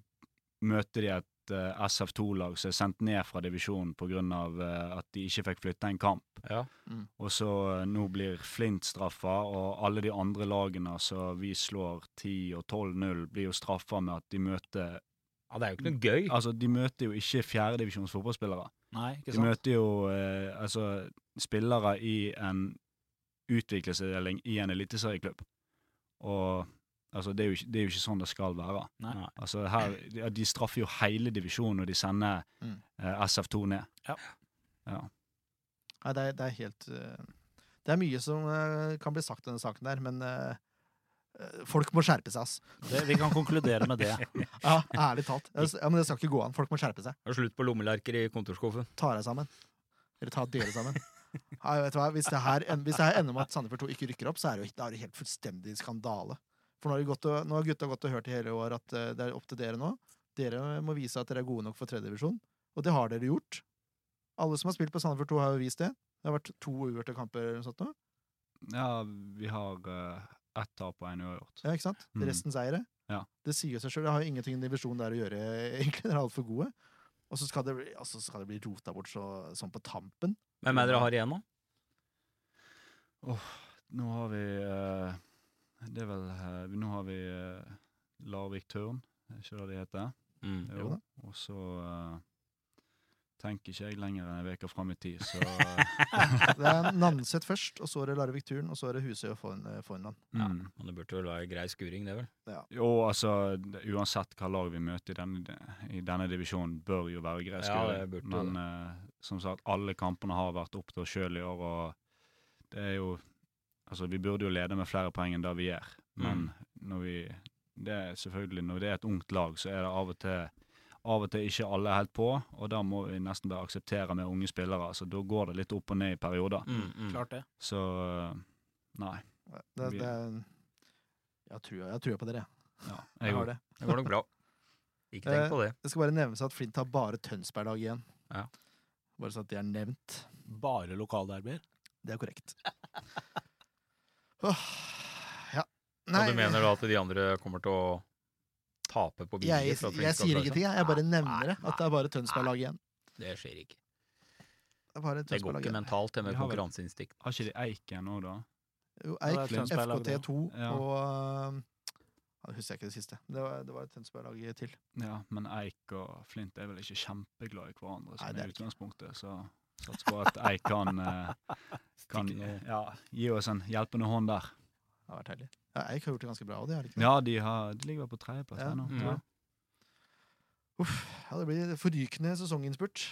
[SPEAKER 6] møter de et eh, SF2-lag som er sendt ned fra divisjonen pga. Uh, at de ikke fikk flytte en kamp.
[SPEAKER 1] Ja.
[SPEAKER 4] Mm.
[SPEAKER 6] Og så eh, nå blir Flint straffa, og alle de andre lagene som vi slår 10 og 12-0, blir jo straffa med at de møter
[SPEAKER 1] ja, det er jo ikke noe gøy.
[SPEAKER 6] Altså, de møter jo ikke fjerdedivisjons fotballspillere.
[SPEAKER 5] Nei, ikke
[SPEAKER 6] De
[SPEAKER 5] sant?
[SPEAKER 6] møter jo eh, altså, spillere i en utviklingsdeling i en eliteserieklubb. Og altså, det, er jo ikke, det er jo ikke sånn det skal være.
[SPEAKER 5] Nei.
[SPEAKER 6] Altså, her, ja, de straffer jo hele divisjonen når de sender
[SPEAKER 4] Mm.
[SPEAKER 6] eh, SF2 ned.
[SPEAKER 5] Ja.
[SPEAKER 6] Ja.
[SPEAKER 4] Nei, det er, det er helt eh, Det er mye som eh, kan bli sagt i denne saken der, men eh, eh, folk må skjerpe seg, ass.
[SPEAKER 5] Det, vi kan konkludere med det.
[SPEAKER 4] Ja, ærlig talt. Jeg s- Ja, men det skal ikke gå an. Folk må skjerpe seg.
[SPEAKER 1] Det er slutt på lommelerker i kontorskuffen.
[SPEAKER 4] Ta deg sammen. Eller ta dere sammen. Ja, vet du hva? Hvis det her, en- hvis det her ender med at Sandefjord 2 ikke rykker opp, så er det jo da er det helt fullstendig skandale. For nå har, de gått og, nå har gutta gått og hørt i hele år at eh, det er opp til dere nå. Dere må vise at dere er gode nok for tredjedivisjon. Og det har dere gjort. Alle som har spilt på Sandefjord 2, har jo vist det. Det har vært to uavgjorte kamper eller noe sånt nå.
[SPEAKER 6] ja, vi har eh, ett tap og én uavgjort.
[SPEAKER 4] Ja, ikke sant?
[SPEAKER 6] Mm.
[SPEAKER 4] Resten seire.
[SPEAKER 6] Ja.
[SPEAKER 4] Det sier seg sjøl. Det har jo ingenting i divisjonen der å gjøre, egentlig. Dere er altfor gode. Og så skal det, bli- altså, skal det bli rota bort så, sånn på tampen.
[SPEAKER 1] Hvem er det dere har igjen, da?
[SPEAKER 6] Nå har vi eh, Det er vel eh, Nå har vi eh, Larvik Tørn, er ikke det det heter?
[SPEAKER 1] Mm.
[SPEAKER 4] Jo da.
[SPEAKER 6] Jo. Og så eh, tenker ikke jeg lenger enn en uke fram i tid, så eh,
[SPEAKER 4] Det er Nanset først, og så er det Larvik Turn, og så er det Husøy og Forn- eh, Fornland.
[SPEAKER 1] Ja.
[SPEAKER 6] mm.
[SPEAKER 1] Men det burde vel være grei skuring, det vel?
[SPEAKER 6] Jo, altså d- uansett hva lag vi møter i denne, i denne divisjonen, bør jo være grei
[SPEAKER 1] Ja,
[SPEAKER 6] skuring.
[SPEAKER 1] det burde jo
[SPEAKER 6] Men eh, som sagt, alle kampene har vært opp til oss sjøl i år, og det er jo Altså, vi burde jo lede med flere poeng enn det vi gjør, men når vi Det er selvfølgelig Når det er et ungt lag, så er det av og til av og til ikke alle er helt på, og da må vi nesten bare akseptere med unge spillere. Så da går det litt opp og ned i perioder.
[SPEAKER 1] Mm, mm.
[SPEAKER 5] Klart det.
[SPEAKER 6] Så eh, nei.
[SPEAKER 4] Det, det er Jeg tror, jeg tror på dere. jeg.
[SPEAKER 6] Jeg
[SPEAKER 4] Jeg
[SPEAKER 6] går.
[SPEAKER 4] har det.
[SPEAKER 1] Det går nok bra. Ikke tenk
[SPEAKER 4] Eh,
[SPEAKER 1] på det.
[SPEAKER 4] Det skal bare nevnes at Flint har bare Tønsberg-lag igjen.
[SPEAKER 1] Ja.
[SPEAKER 4] Bare så at det er nevnt.
[SPEAKER 5] Bare lokaldarbeider.
[SPEAKER 4] Det er korrekt. Åh, ja.
[SPEAKER 1] Så du mener da at de andre kommer til å tape på bildet?
[SPEAKER 4] jeg,
[SPEAKER 1] for at
[SPEAKER 4] jeg,
[SPEAKER 1] Flink skal
[SPEAKER 4] sier
[SPEAKER 1] klare seg?
[SPEAKER 4] ingenting, jeg. Jeg bare
[SPEAKER 1] Nei,
[SPEAKER 4] nevner det.
[SPEAKER 1] nei,
[SPEAKER 4] At det er bare Tønsberg-lag igjen.
[SPEAKER 1] Det skjer ikke.
[SPEAKER 4] Det er bare
[SPEAKER 1] Det går
[SPEAKER 4] Tønsberg-lag
[SPEAKER 1] ikke
[SPEAKER 4] igjen.
[SPEAKER 1] mentalt, det med
[SPEAKER 6] Vi har vel-
[SPEAKER 1] konkurranseinstinkt.
[SPEAKER 6] Har ikke de Eiken nå, da?
[SPEAKER 4] Jo,
[SPEAKER 5] Ja,
[SPEAKER 4] Eik,
[SPEAKER 5] det er Tønsberg-lag, det.
[SPEAKER 4] FKT2
[SPEAKER 6] Ja.
[SPEAKER 4] og øh, ja, Husker jeg ikke det siste. Det var, det var et Tønsberg-lag til.
[SPEAKER 6] Ja, men Eik og Flint er vel ikke kjempeglade i hverandre
[SPEAKER 4] Nei,
[SPEAKER 6] sånn
[SPEAKER 4] det
[SPEAKER 6] i
[SPEAKER 4] er ikke.
[SPEAKER 6] utgangspunktet, så satser på at Eik kan, eh, kan eh, ja, gi oss en hjelpende hånd der.
[SPEAKER 4] Det har vært herlig. Ja, Eik har gjort det ganske bra. Og det har de ikke
[SPEAKER 6] Ja, de, har, de ligger vel på tredjeplass
[SPEAKER 4] Ja,
[SPEAKER 6] her nå.
[SPEAKER 1] mm.
[SPEAKER 6] tror jeg.
[SPEAKER 4] Uff, ja, det blir forrykende sesonginnspurt.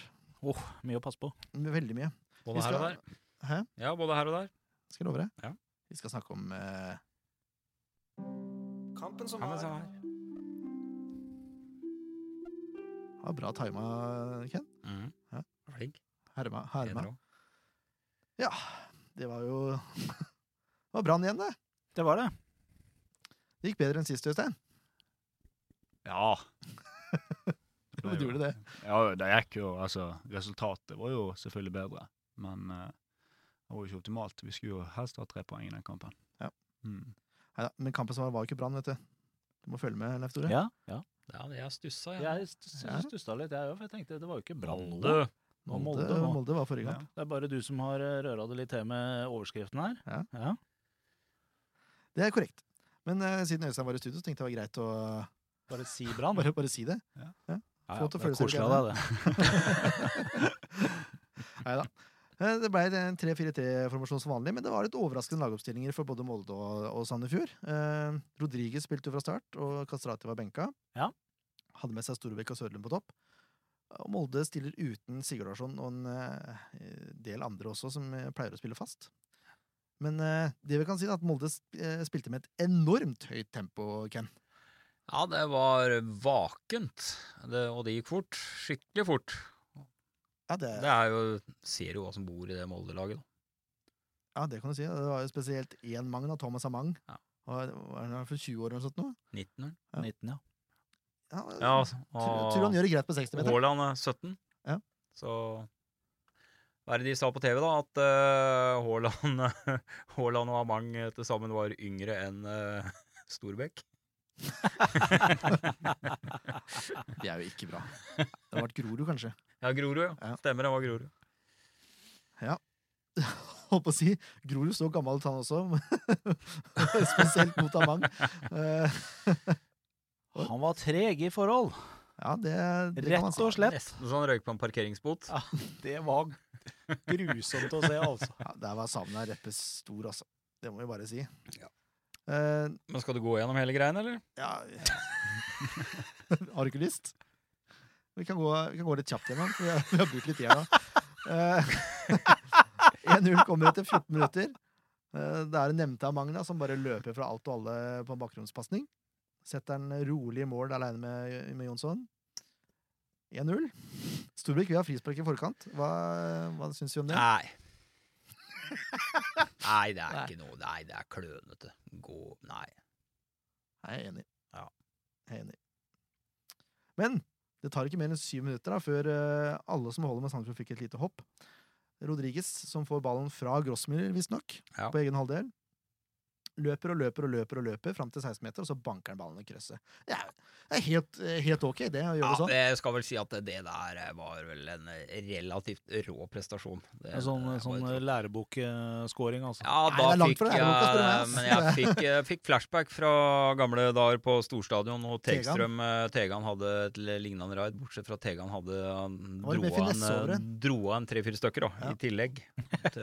[SPEAKER 5] Mye å passe på.
[SPEAKER 4] Veldig mye.
[SPEAKER 1] Både her
[SPEAKER 4] skal-
[SPEAKER 1] og der.
[SPEAKER 4] Hæ?
[SPEAKER 1] Ja, både her og der.
[SPEAKER 4] Skal jeg love deg.
[SPEAKER 1] Ja.
[SPEAKER 4] Vi skal snakke om eh, Kampen som
[SPEAKER 1] Ja, men se her.
[SPEAKER 4] Ja, bra tima, Ken.
[SPEAKER 1] Mhm.
[SPEAKER 4] Ja.
[SPEAKER 1] Flink.
[SPEAKER 4] Herma.
[SPEAKER 1] Tjener
[SPEAKER 4] herma.
[SPEAKER 1] også.
[SPEAKER 4] Ja, det var jo Det var Brann igjen, det.
[SPEAKER 5] Det var det.
[SPEAKER 4] Det gikk bedre enn sist, Øystein.
[SPEAKER 6] Ja.
[SPEAKER 4] Jo, det gjorde det.
[SPEAKER 6] Ja, det gikk jo, altså, resultatet var jo selvfølgelig bedre, men eh, det var jo ikke optimalt. Vi skulle jo helst ha tre poeng i den kampen.
[SPEAKER 4] Ja.
[SPEAKER 6] Mm.
[SPEAKER 4] Neida, men kampen som var, var jo ikke Brann, vet du. Du må følge med, Leif Tore.
[SPEAKER 5] Ja, ja.
[SPEAKER 1] Ja, men jeg stussa, jeg.
[SPEAKER 5] Jeg
[SPEAKER 4] Ja.
[SPEAKER 5] stussa litt, jeg òg, for jeg tenkte det var jo ikke brann nå.
[SPEAKER 1] Molde.
[SPEAKER 5] Og
[SPEAKER 4] Molde,
[SPEAKER 5] Molde nå.
[SPEAKER 4] Molde var forrige
[SPEAKER 6] Ja.
[SPEAKER 4] kamp.
[SPEAKER 5] Det er bare du som har eh, røra det litt til med overskriften her.
[SPEAKER 4] Ja. Det er korrekt. Men eh, siden Øystein var i studio, så tenkte jeg det var greit å
[SPEAKER 5] Bare si brann.
[SPEAKER 4] bare, bare si det.
[SPEAKER 5] Ja,
[SPEAKER 4] Få til å
[SPEAKER 5] det er
[SPEAKER 4] føle seg
[SPEAKER 5] koselig av
[SPEAKER 4] bedre.
[SPEAKER 5] deg, det.
[SPEAKER 4] Nei da. Eh, Det ble en 3-4-3-formasjon som vanlig, men det var litt overraskende lagoppstillinger for både Molde og, og Sandefjord. Eh, Rodriguez spilte jo fra start, og Kastrati var benka.
[SPEAKER 5] Ja.
[SPEAKER 4] Hadde med seg Storbekk og Sørlund på topp. Og Molde stiller uten Sigurd Larsson og en eh, del andre også, som eh, pleier å spille fast. Men eh, det vi kan si, er at Molde sp- eh, spilte med et enormt høyt tempo, Ken.
[SPEAKER 1] Ja, det var vakent, det, og det gikk fort. Skikkelig fort.
[SPEAKER 4] Ja, det,
[SPEAKER 1] Det er jo, ser jo hva som bor i det Molde-laget. da.
[SPEAKER 4] ja, det kan du si. Det var jo spesielt én Magn, da, Thomas Amang.
[SPEAKER 1] Ja.
[SPEAKER 4] Og, var han for 20 år eller noe sånt nå?
[SPEAKER 1] 19 år.
[SPEAKER 5] 19, ja. altså,
[SPEAKER 4] Ja,
[SPEAKER 1] Ja,
[SPEAKER 4] Tror, tror han
[SPEAKER 1] og
[SPEAKER 4] gjør det greit på 60 meter.
[SPEAKER 1] Haaland er 17.
[SPEAKER 4] Ja.
[SPEAKER 1] Så hva er det de sa på TV, da? At eh, Haaland Haaland og Amang eh, til sammen var yngre enn eh, Storbekk?
[SPEAKER 4] Det er jo ikke bra. Det har vært Grorud, kanskje.
[SPEAKER 1] Ja, Grorud, ja.
[SPEAKER 4] Ja.
[SPEAKER 1] Stemmer, det var Grorud.
[SPEAKER 4] Holdt på å si. Grorud så gammel ut, han også. Spesielt mot Amang. Eh,
[SPEAKER 5] Han var treg i forhold,
[SPEAKER 4] Ja, det, det kan man
[SPEAKER 5] rett
[SPEAKER 4] si.
[SPEAKER 5] og slett.
[SPEAKER 1] Nesten så han røyk på en parkeringsbot.
[SPEAKER 5] Ja, Det var grusomt å se, altså.
[SPEAKER 4] Ja, der var savna Reppe stor, altså. Det må vi bare si. Eh,
[SPEAKER 1] Men skal du gå gjennom hele greien, eller?
[SPEAKER 4] ja Har du ikke lyst? Vi kan gå, vi kan gå litt kjapt gjennom, for vi har, vi har brukt litt tid her nå. Eh, 1-0 kommer etter 14 minutter. Eh, Det er nevnte av Magna som bare løper fra alt og alle på en bakgrunnspasning. Setter en rolig i mål aleine med, med Jonsson. 1-0. Storbekk, vi har frispark i forkant. Hva, hva syns vi om det?
[SPEAKER 1] Nei. Nei, det er
[SPEAKER 4] Nei.
[SPEAKER 1] ikke noe Nei, det er klønete. Gå Nei.
[SPEAKER 4] Jeg er enig.
[SPEAKER 1] Ja.
[SPEAKER 4] Jeg er enig. Men det tar ikke mer enn syv minutter da, før eh, alle som holder med Sandefjord, fikk et lite hopp. Rodriguez, som får ballen fra Grossmiller, visstnok,
[SPEAKER 1] Ja.
[SPEAKER 4] på egen halvdel, løper og løper og løper og løper fram til 16 meter, og så banker han ballen i krysset. Det er, det er helt, eh, helt ok, det, å
[SPEAKER 1] Ja,
[SPEAKER 4] gjøre det sånn.
[SPEAKER 1] jeg skal vel si at det der eh, var vel en eh, relativt rå prestasjon. Det,
[SPEAKER 5] En sånn,
[SPEAKER 1] det var
[SPEAKER 5] sånn
[SPEAKER 1] jo-
[SPEAKER 5] lærebokskåring, altså.
[SPEAKER 1] Eh, ja,
[SPEAKER 4] eh, Nei,
[SPEAKER 1] da
[SPEAKER 4] det er langt
[SPEAKER 1] fikk
[SPEAKER 4] fra
[SPEAKER 1] jeg,
[SPEAKER 4] lærebok, spør du meg, ass.
[SPEAKER 1] men jeg fikk, jeg fikk flashback fra gamle dager på storstadion, og
[SPEAKER 4] Tegan.
[SPEAKER 1] Tegstrøm eh, Tegan hadde et l- lignende raid, bortsett fra Tegan hadde han
[SPEAKER 4] var det
[SPEAKER 1] dro
[SPEAKER 4] mer
[SPEAKER 1] av
[SPEAKER 4] finesse over
[SPEAKER 1] en,
[SPEAKER 4] det.
[SPEAKER 1] eh, dro av en tre-fire stykker da,
[SPEAKER 4] Ja.
[SPEAKER 1] i tillegg. Til,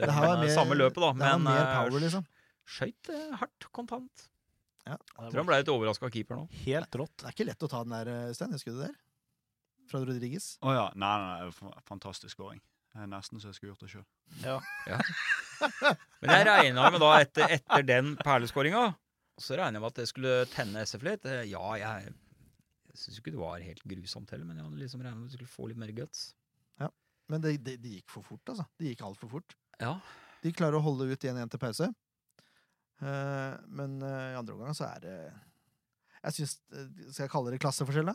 [SPEAKER 4] Det her var
[SPEAKER 1] men, eh,
[SPEAKER 4] mer-
[SPEAKER 1] samme løpet, da,
[SPEAKER 4] Det var
[SPEAKER 1] men
[SPEAKER 4] mer
[SPEAKER 1] eh,
[SPEAKER 4] power, liksom.
[SPEAKER 1] skøyt eh, hardt, kontant.
[SPEAKER 5] Det
[SPEAKER 1] Tror han ble litt overraska av keeper nå.
[SPEAKER 5] var helt rått.
[SPEAKER 4] Det er ikke lett å ta den der, eh, Stein, husker du det der? Fra Rodriguez.
[SPEAKER 6] Å ja. Nei, nei, nei, fa- fantastisk scoring. Det er Nesten så jeg skulle gjort det sjøl.
[SPEAKER 1] Men jeg regna med da, etter, etter den perleskåringa, så regna jeg med at det skulle tenne SF litt. Eh, Ja, jeg, jeg syns ikke det var helt grusomt heller, men jeg hadde liksom regna med at du skulle få litt mer guts.
[SPEAKER 4] Men det, det, det gikk for fort, altså. Det gikk altfor fort.
[SPEAKER 1] Ja.
[SPEAKER 4] De klarer å holde ut 1-1 til pause. Eh, men eh, i andre omgang så er det Jeg syns Skal jeg kalle det klasseforskjell, da?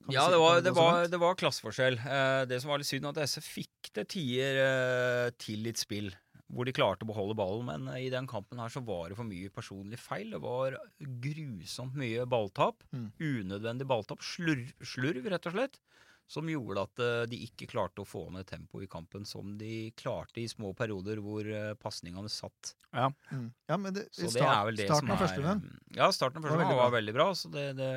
[SPEAKER 4] Kan vi
[SPEAKER 1] Ja,
[SPEAKER 4] si-
[SPEAKER 1] det
[SPEAKER 4] kan
[SPEAKER 1] var,
[SPEAKER 4] vi
[SPEAKER 1] det
[SPEAKER 4] gå så
[SPEAKER 1] var,
[SPEAKER 4] langt?
[SPEAKER 1] det var klasseforskjell. Eh, det som var litt synd, at SF fikk det tier eh, til litt spill, hvor de klarte å beholde ballen. Men eh, i den kampen her så var det for mye personlig feil. Det var grusomt mye balltap.
[SPEAKER 4] Mm.
[SPEAKER 1] Unødvendig balltap. Slurv, slurv, rett og slett. Som gjorde at eh, de ikke klarte å få ned tempoet i kampen, som de klarte i små perioder hvor eh, pasningene satt.
[SPEAKER 4] Mm. Ja, men det, i
[SPEAKER 1] Så det er
[SPEAKER 4] start,
[SPEAKER 1] vel det
[SPEAKER 4] starten
[SPEAKER 1] som
[SPEAKER 4] av
[SPEAKER 1] er
[SPEAKER 4] første gang.
[SPEAKER 1] Ja, starten av
[SPEAKER 4] var
[SPEAKER 1] første gang
[SPEAKER 4] veldig
[SPEAKER 1] var veldig bra. Så det, det,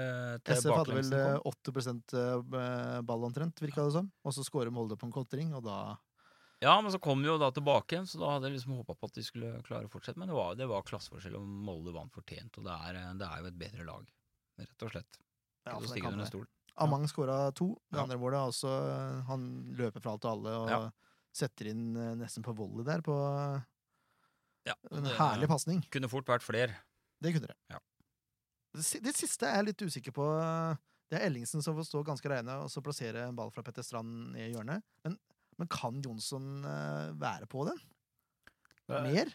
[SPEAKER 1] til
[SPEAKER 4] SF hadde vel
[SPEAKER 1] baklengsen kom.
[SPEAKER 4] eh, 8 eh, ball omtrent, virka det som. Og så scorer Molde på en kontring, og da
[SPEAKER 1] Ja, men så kom vi jo da tilbake igjen, så da hadde jeg liksom håpa på at de skulle klare å fortsette. Men det var, det var klasseforskjell, og Molde vant fortjent. Og det er, det er jo et bedre lag, rett og slett.
[SPEAKER 4] ja,
[SPEAKER 1] Ikke til
[SPEAKER 4] for
[SPEAKER 1] å
[SPEAKER 4] den
[SPEAKER 1] stikke
[SPEAKER 4] kampen
[SPEAKER 1] under
[SPEAKER 4] der.
[SPEAKER 1] en stol.
[SPEAKER 4] Amang skåra to. Det
[SPEAKER 1] Ja.
[SPEAKER 4] andre målet er også eh, Han løper fra alt og alle og
[SPEAKER 1] Ja.
[SPEAKER 4] setter inn eh, nesten på volley der, på
[SPEAKER 1] Ja,
[SPEAKER 4] en
[SPEAKER 1] det
[SPEAKER 4] herlig pasning.
[SPEAKER 1] kunne fort vært flere.
[SPEAKER 4] Det kunne dere.
[SPEAKER 1] Ja.
[SPEAKER 4] Det, si- det siste er jeg litt usikker på. Det er Ellingsen som får stå ganske reine og så plassere en ball fra Petter Strand i hjørnet. Men, men kan Jonsson eh, være på den? Mer?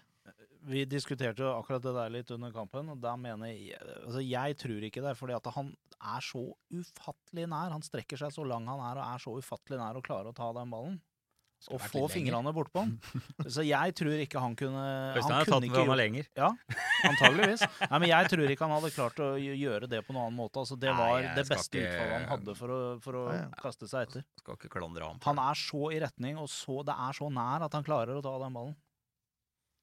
[SPEAKER 5] Vi diskuterte jo akkurat det der litt under kampen, og da mener jeg altså Jeg tror ikke det, fordi at han er så ufattelig nær. Han strekker seg så lang han er, og er så ufattelig nær å klare å ta den ballen. Og
[SPEAKER 1] vært
[SPEAKER 5] få
[SPEAKER 1] litt lenger.
[SPEAKER 5] fingrene bortpå den. Så jeg tror ikke han kunne
[SPEAKER 1] Øystein har
[SPEAKER 5] kunne
[SPEAKER 1] tatt med
[SPEAKER 5] ikke gjort-
[SPEAKER 1] henne lenger.
[SPEAKER 5] Antageligvis. Nei, men jeg tror ikke han hadde klart å gj- gjøre det på noen annen måte. Altså, det
[SPEAKER 1] Nei,
[SPEAKER 5] var
[SPEAKER 1] jeg
[SPEAKER 5] det
[SPEAKER 1] skal
[SPEAKER 5] beste
[SPEAKER 1] ikke-
[SPEAKER 5] utfallet han hadde for å, for å
[SPEAKER 4] Ja, ja.
[SPEAKER 5] kaste seg etter.
[SPEAKER 1] Skal ikke klandre han. for
[SPEAKER 5] Han
[SPEAKER 1] det.
[SPEAKER 5] er så i retning, og så, det er så nær at han klarer å ta den ballen.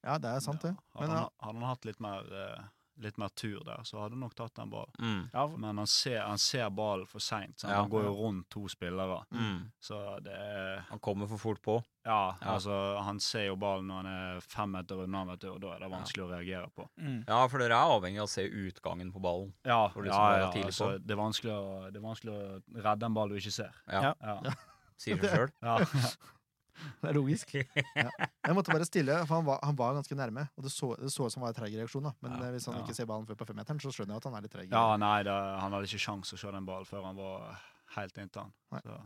[SPEAKER 4] Ja, det er sant, det.
[SPEAKER 6] Hadde,
[SPEAKER 4] Men ja,
[SPEAKER 6] han, hadde han hatt litt mer, eh, litt mer tur der, så hadde han nok tatt den ballen.
[SPEAKER 1] Mm.
[SPEAKER 5] Ja,
[SPEAKER 6] Men han ser, han ser ballen for seint.
[SPEAKER 1] Ja.
[SPEAKER 6] Han går jo rundt to spillere.
[SPEAKER 1] Mm.
[SPEAKER 6] Så det er
[SPEAKER 1] Han kommer for fort på.
[SPEAKER 6] ja,
[SPEAKER 1] Ja.
[SPEAKER 6] altså Han ser jo ballen når han er fem meter unna, vet du, og da er det vanskelig å reagere på.
[SPEAKER 5] mm.
[SPEAKER 1] Ja, for dere er avhengig av å se utgangen på ballen.
[SPEAKER 6] Ja,
[SPEAKER 1] Hvor du
[SPEAKER 6] ja,
[SPEAKER 1] liksom bare
[SPEAKER 6] ja
[SPEAKER 1] tidlig på.
[SPEAKER 6] altså, det, er vanskelig å, det er vanskelig å redde en ball du ikke ser.
[SPEAKER 1] Ja.
[SPEAKER 6] Ja.
[SPEAKER 1] Sier seg sjøl.
[SPEAKER 6] Ja.
[SPEAKER 4] det er logisk. Ja. Jeg måtte bare stille, for han var, han var ganske nærme. Og det så det så ut som det var en treig reaksjon, da. Men
[SPEAKER 6] Ja,
[SPEAKER 4] eh, hvis han
[SPEAKER 6] ja.
[SPEAKER 4] ikke ser ballen før på femmeteren, så skjønner jeg at han er litt treig.
[SPEAKER 6] ja, nei, det, han hadde ikke sjans å se den ballen før han var helt inntil han.
[SPEAKER 4] Nei.
[SPEAKER 6] Så.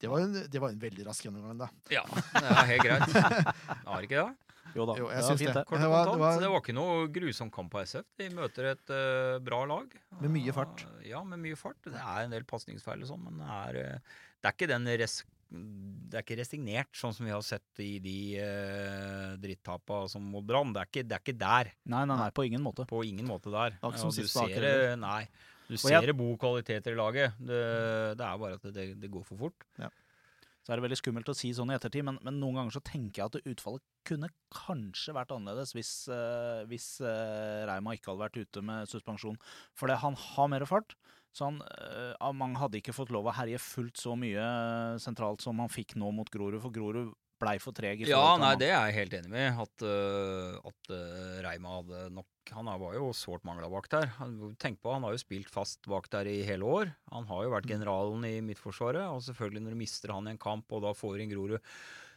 [SPEAKER 4] Det var jo en, det var en veldig rask gjennomgang, da.
[SPEAKER 1] Ja, det er helt greit. Han har ikke det.
[SPEAKER 5] Jo da,
[SPEAKER 4] Jo, jeg
[SPEAKER 5] det
[SPEAKER 4] syns
[SPEAKER 5] var fint,
[SPEAKER 4] det.
[SPEAKER 5] det.
[SPEAKER 1] Kort
[SPEAKER 4] Det
[SPEAKER 1] og
[SPEAKER 4] var-
[SPEAKER 1] kontant.
[SPEAKER 4] det var-
[SPEAKER 1] Så det var ikke noe grusom kamp på SF. De møter et eh, bra lag.
[SPEAKER 4] Med mye fart.
[SPEAKER 1] Ah, Ja, med mye fart. Det er en del pasningsfeil og sånn, men det er, eh, det er ikke den res det er ikke resignert, sånn som vi har sett i de uh, drittapa som mot Brann. Det, er ikke- det er ikke der.
[SPEAKER 5] Nei, nei, nei, på ingen måte.
[SPEAKER 1] På ingen måte der.
[SPEAKER 4] var ikke som
[SPEAKER 1] Og du
[SPEAKER 4] sist på
[SPEAKER 1] ser
[SPEAKER 4] Aker
[SPEAKER 1] det- Nei. Du ser
[SPEAKER 5] jeg-
[SPEAKER 1] det gode kvaliteter i laget. Det, det er bare at det, det går for fort.
[SPEAKER 5] Så er det veldig skummelt å si sånn i ettertid, men, men noen ganger så tenker jeg at utfallet kunne kanskje vært annerledes hvis, eh, hvis eh, Reima ikke hadde vært ute med suspensjon. For det- han har mer fart, så han, eh, Amang hadde ikke fått lov å herje fullt så mye eh, sentralt som han fikk nå mot Grorud, for Grorud blei for treg. i
[SPEAKER 1] Ja,
[SPEAKER 5] forhold til
[SPEAKER 1] nei,
[SPEAKER 5] Amang.
[SPEAKER 1] det er jeg helt enig med. At, øh, at øh, Reima hadde nok Han var jo sårt mangla bak der. Han- Tenk på, han har jo spilt fast bak der i hele år. Han har jo
[SPEAKER 5] Mm.
[SPEAKER 1] vært generalen i Midtforsvaret. Og selvfølgelig, når du mister han i en kamp, og da får inn Grorud,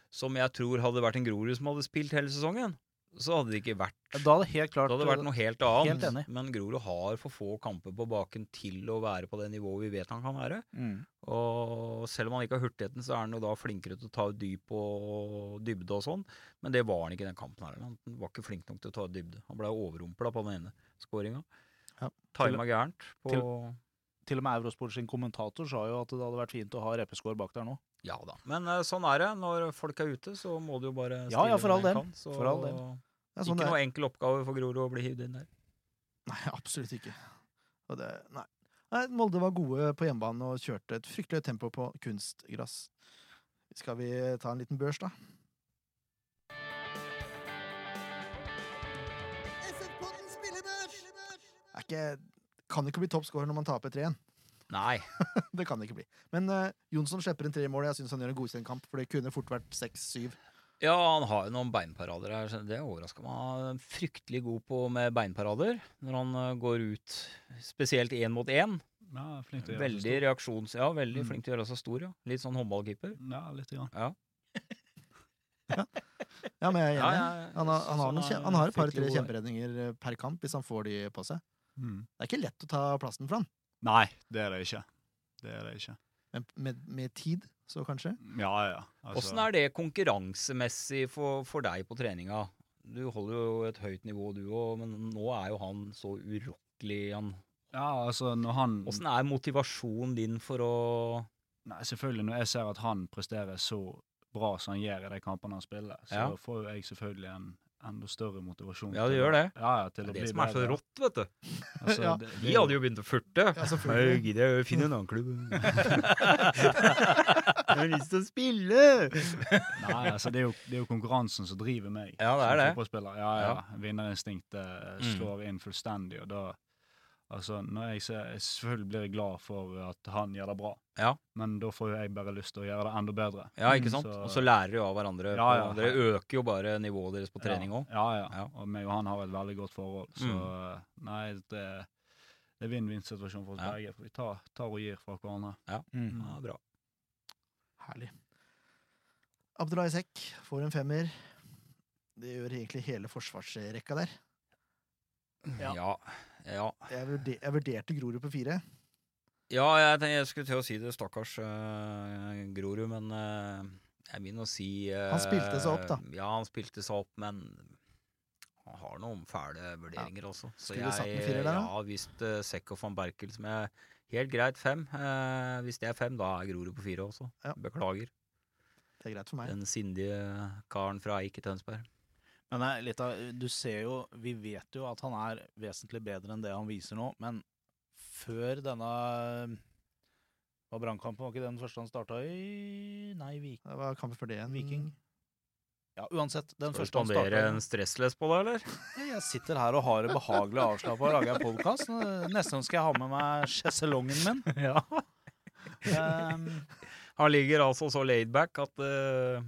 [SPEAKER 1] som jeg tror hadde vært en Grorud som hadde spilt hele sesongen, så hadde det ikke vært
[SPEAKER 5] Da hadde det helt klart
[SPEAKER 1] det hadde vært noe helt annet.
[SPEAKER 5] Helt enig.
[SPEAKER 1] Men Grorud har for få kamper på baken til å være på det nivået vi vet han kan være.
[SPEAKER 5] mm.
[SPEAKER 1] Og selv om han ikke har hurtigheten, så er han jo da flinkere til å ta dyp og dybde og sånn. Men det var han ikke i den kampen her. Han var ikke flink nok til å ta dybde. Han ble overrumpla på den ene skåringa.
[SPEAKER 4] Ja.
[SPEAKER 1] Tima gærent på
[SPEAKER 5] Til og med Eurosport sin kommentator sa jo at det hadde vært fint å ha Reppeskår bak der nå.
[SPEAKER 1] Ja da. Men eh, sånn er det. Når folk er ute, så må du jo bare
[SPEAKER 5] Ja, ja, for
[SPEAKER 1] med
[SPEAKER 5] all
[SPEAKER 1] det
[SPEAKER 5] del.
[SPEAKER 1] kan, så
[SPEAKER 5] For all del.
[SPEAKER 4] Det er sånn
[SPEAKER 1] ikke
[SPEAKER 4] det er.
[SPEAKER 1] noe enkel oppgave for Grorud å bli hivd inn der.
[SPEAKER 4] Nei, absolutt ikke. Og det, nei. nei, Molde var gode på hjemmebane og kjørte et fryktelig høyt tempo på kunstgress. Skal vi ta en liten børs, da? Er ikke, kan ikke bli toppscorer når man taper 3-1.
[SPEAKER 1] Nei.
[SPEAKER 4] Det kan det ikke bli. Men eh, Jonsson slipper inn tre mål. Jeg syns han gjør en godkjent kamp, for det kunne fort vært 6-7.
[SPEAKER 1] Ja, han har jo noen beinparader her. så Det overrasker meg. Han er Fryktelig god på med beinparader når han eh, går ut, spesielt én mot én.
[SPEAKER 6] Ja, flink til å gjøre
[SPEAKER 1] Veldig
[SPEAKER 6] det.
[SPEAKER 1] reaksjons... Ja, veldig
[SPEAKER 6] Mm.
[SPEAKER 1] flink til å gjøre seg stor, ja. Litt sånn håndballkeeper.
[SPEAKER 6] Ja, litt. Grann.
[SPEAKER 4] Ja, men jeg er enig.
[SPEAKER 1] Ja, ja, ja.
[SPEAKER 4] Han har, han har,
[SPEAKER 1] Sånn
[SPEAKER 4] noen,
[SPEAKER 1] er
[SPEAKER 4] kje- han har et par-tre
[SPEAKER 1] fryktelig god der.
[SPEAKER 4] kjemperedninger eh, per kamp hvis han får de på seg.
[SPEAKER 6] Mm.
[SPEAKER 4] Det er ikke lett å ta plassen for han.
[SPEAKER 6] Nei, det er det ikke. Det er det ikke.
[SPEAKER 4] Men med, med tid, så kanskje.
[SPEAKER 6] Ja, ja.
[SPEAKER 1] altså- Åssen er det konkurransemessig for, for deg på treninga? Du holder jo et høyt nivå, du òg, men nå er jo han så urokkelig, han.
[SPEAKER 6] Ja, altså når han
[SPEAKER 1] Åssen er motivasjonen din for å
[SPEAKER 6] Nei, selvfølgelig når jeg ser at han presterer så bra som han gjør i de kampene han spiller, så
[SPEAKER 1] Ja.
[SPEAKER 6] får jo jeg selvfølgelig en enda større motivasjon.
[SPEAKER 1] Ja, det
[SPEAKER 6] til å-
[SPEAKER 1] gjør det.
[SPEAKER 6] Ja, ja, til
[SPEAKER 1] Det
[SPEAKER 6] å
[SPEAKER 1] er
[SPEAKER 6] bli
[SPEAKER 1] det som er så
[SPEAKER 6] bedre.
[SPEAKER 1] rått, vet du.
[SPEAKER 6] Altså,
[SPEAKER 4] Ja.
[SPEAKER 6] det,
[SPEAKER 1] Vi hadde jo begynt å furte.
[SPEAKER 4] Ja, selvfølgelig.
[SPEAKER 1] Jeg gidder jeg finne en annen klubb. Jeg har lyst til å spille!
[SPEAKER 6] Nei, altså, det er, jo, det er jo konkurransen som driver meg.
[SPEAKER 1] Ja, det er
[SPEAKER 6] som
[SPEAKER 1] det.
[SPEAKER 6] fotballspiller. Ja, ja.
[SPEAKER 1] Ja.
[SPEAKER 6] Vinnerinstinktet eh,
[SPEAKER 1] Mm.
[SPEAKER 6] slår inn fullstendig, og da Altså, når jeg ser jeg Selvfølgelig blir jeg glad for at han gjør det bra,
[SPEAKER 1] Ja.
[SPEAKER 6] men da får jo jeg bare lyst til å gjøre det enda bedre.
[SPEAKER 1] Ja, ikke sant?
[SPEAKER 6] Mm, Så-
[SPEAKER 1] Og så lærer de av hverandre.
[SPEAKER 6] Ja, ja.
[SPEAKER 1] på- Dere øker jo bare nivået deres på trening òg.
[SPEAKER 6] Ja, ja, ja.
[SPEAKER 1] Ja.
[SPEAKER 6] Og meg og han har et veldig godt forhold, så eh, nei, det, det er vinn-vinn-situasjon for oss
[SPEAKER 1] Ja.
[SPEAKER 6] begge. for Vi tar, tar og gir fra hverandre.
[SPEAKER 5] Mm.
[SPEAKER 1] Ja, bra.
[SPEAKER 4] Herlig. Abdullah Isek får en femmer. Det gjør egentlig hele forsvarsrekka der.
[SPEAKER 5] Ja.
[SPEAKER 1] Ja. ja.
[SPEAKER 4] Jeg, vurder, jeg vurderte Grorud på fire.
[SPEAKER 1] Ja, jeg, ten- jeg skulle til å si det, stakkars eh, Grorud, men eh, jeg vil nå si eh,
[SPEAKER 4] Han spilte seg opp, da.
[SPEAKER 1] Ja, han spilte seg opp, men han har noen fæle vurderinger, altså. Så
[SPEAKER 4] Skulle satt en
[SPEAKER 1] jeg,
[SPEAKER 4] firer der, da.
[SPEAKER 1] ja, hvis uh, Sekk og van Berkel som er helt greit fem eh, Hvis det er fem, da er Grorud på fire også.
[SPEAKER 4] Ja.
[SPEAKER 1] Beklager.
[SPEAKER 4] Det er greit for meg.
[SPEAKER 1] Den sindige karen fra Eik i Tønsberg.
[SPEAKER 5] Men det er litt av, du ser jo, vi vet jo at han er vesentlig bedre enn det han viser nå, men før denne var brannkampen, var ikke den første han starta i? Nei, Vik.
[SPEAKER 4] Det var kampen for det igjen.
[SPEAKER 5] Viking. Ja, uansett. Den
[SPEAKER 1] Skal du
[SPEAKER 5] første han starta
[SPEAKER 1] spandere en stressless på deg, eller?
[SPEAKER 5] Jeg sitter her og har det behagelig avslappa og lager en podkast. Neste gang skal jeg ha med meg sjeselongen min.
[SPEAKER 1] ja.
[SPEAKER 5] Ehm,
[SPEAKER 1] Han ligger altså så laidback at eh,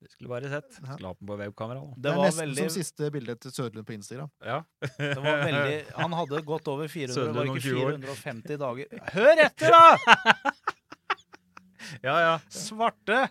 [SPEAKER 1] det skulle bare sett.
[SPEAKER 4] Ja.
[SPEAKER 1] Skulle hatt den på webkamera. da.
[SPEAKER 4] Det,
[SPEAKER 5] det,
[SPEAKER 4] er
[SPEAKER 5] var
[SPEAKER 4] nesten
[SPEAKER 5] veldig,
[SPEAKER 4] som siste bilde til Sødlund på Instagram.
[SPEAKER 5] det var veldig Han hadde gått over 400, var
[SPEAKER 1] Sødlund om
[SPEAKER 5] det
[SPEAKER 1] 20 år.
[SPEAKER 5] ikke 450 dager Hør etter, da!
[SPEAKER 1] Ja, ja.
[SPEAKER 5] Svarte!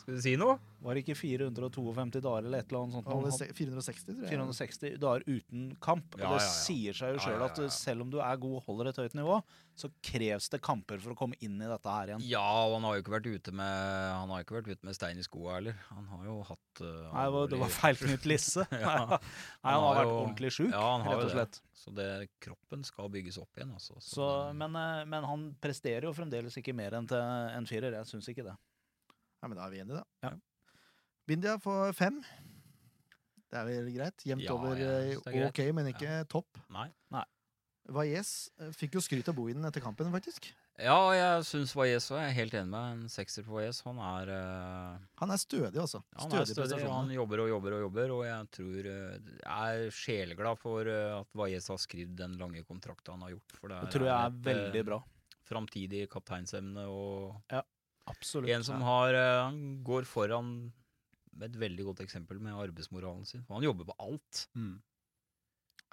[SPEAKER 1] Skal du si noe?
[SPEAKER 5] Var det ikke 452 dager eller et eller annet sånt?
[SPEAKER 4] Han
[SPEAKER 5] Han
[SPEAKER 4] hadde
[SPEAKER 5] hadde
[SPEAKER 4] se- 460, tror jeg.
[SPEAKER 5] 460 dager uten kamp.
[SPEAKER 1] Ja,
[SPEAKER 5] og det
[SPEAKER 1] ja, ja.
[SPEAKER 5] sier seg jo
[SPEAKER 1] Ja,
[SPEAKER 5] sjøl
[SPEAKER 1] ja,
[SPEAKER 5] at
[SPEAKER 1] ja, ja.
[SPEAKER 5] selv om du er god og holder et høyt nivå, så kreves det kamper for å komme inn i dette her igjen.
[SPEAKER 1] Ja, og han har jo ikke vært ute med, han har ikke vært ute med stein i skoa heller. Han har jo hatt eh,
[SPEAKER 5] Nei, det var- det var
[SPEAKER 1] alvorlig-
[SPEAKER 5] feil Knut Lisse.
[SPEAKER 1] Ja.
[SPEAKER 5] Nei, han har vært
[SPEAKER 1] jo-
[SPEAKER 5] ordentlig sjuk,
[SPEAKER 1] Ja, han har
[SPEAKER 5] rett og
[SPEAKER 1] jo det.
[SPEAKER 5] slett.
[SPEAKER 1] Så det, kroppen skal bygges opp igjen, altså. Så
[SPEAKER 5] Så,
[SPEAKER 1] den-
[SPEAKER 5] men, eh, men han presterer jo fremdeles ikke mer enn til en firer. Jeg syns ikke det.
[SPEAKER 4] Ja, men da er vi enige, da.
[SPEAKER 5] Ja.
[SPEAKER 4] Bindia får fem. Det er vel greit? Jevnt
[SPEAKER 1] Ja,
[SPEAKER 4] over
[SPEAKER 1] jeg
[SPEAKER 4] eh,
[SPEAKER 1] synes det er greit.
[SPEAKER 4] ok, men ikke topp.
[SPEAKER 1] Nei.
[SPEAKER 4] Valles eh, fikk jo skryt av Bohinen etter kampen, faktisk.
[SPEAKER 1] Ja, jeg syns Valles òg. Jeg er helt enig med deg. En sekser på Valles. Han er eh,
[SPEAKER 4] Han er stødig, altså.
[SPEAKER 1] Han er
[SPEAKER 4] Stødig
[SPEAKER 1] stødig, og han
[SPEAKER 4] prestasjoner.
[SPEAKER 1] jobber og jobber og jobber, og jeg tror eh, jeg er sjeleglad for eh, at Valles har skrevet den lange kontrakten han har gjort. For det,
[SPEAKER 5] Det tror jeg er
[SPEAKER 1] et, eh,
[SPEAKER 5] veldig bra.
[SPEAKER 1] Framtidig kapteinsemne og
[SPEAKER 5] Absolutt.
[SPEAKER 1] en som har eh, Han går foran med et veldig godt eksempel med arbeidsmoralen sin. For han jobber på alt.
[SPEAKER 6] Mm.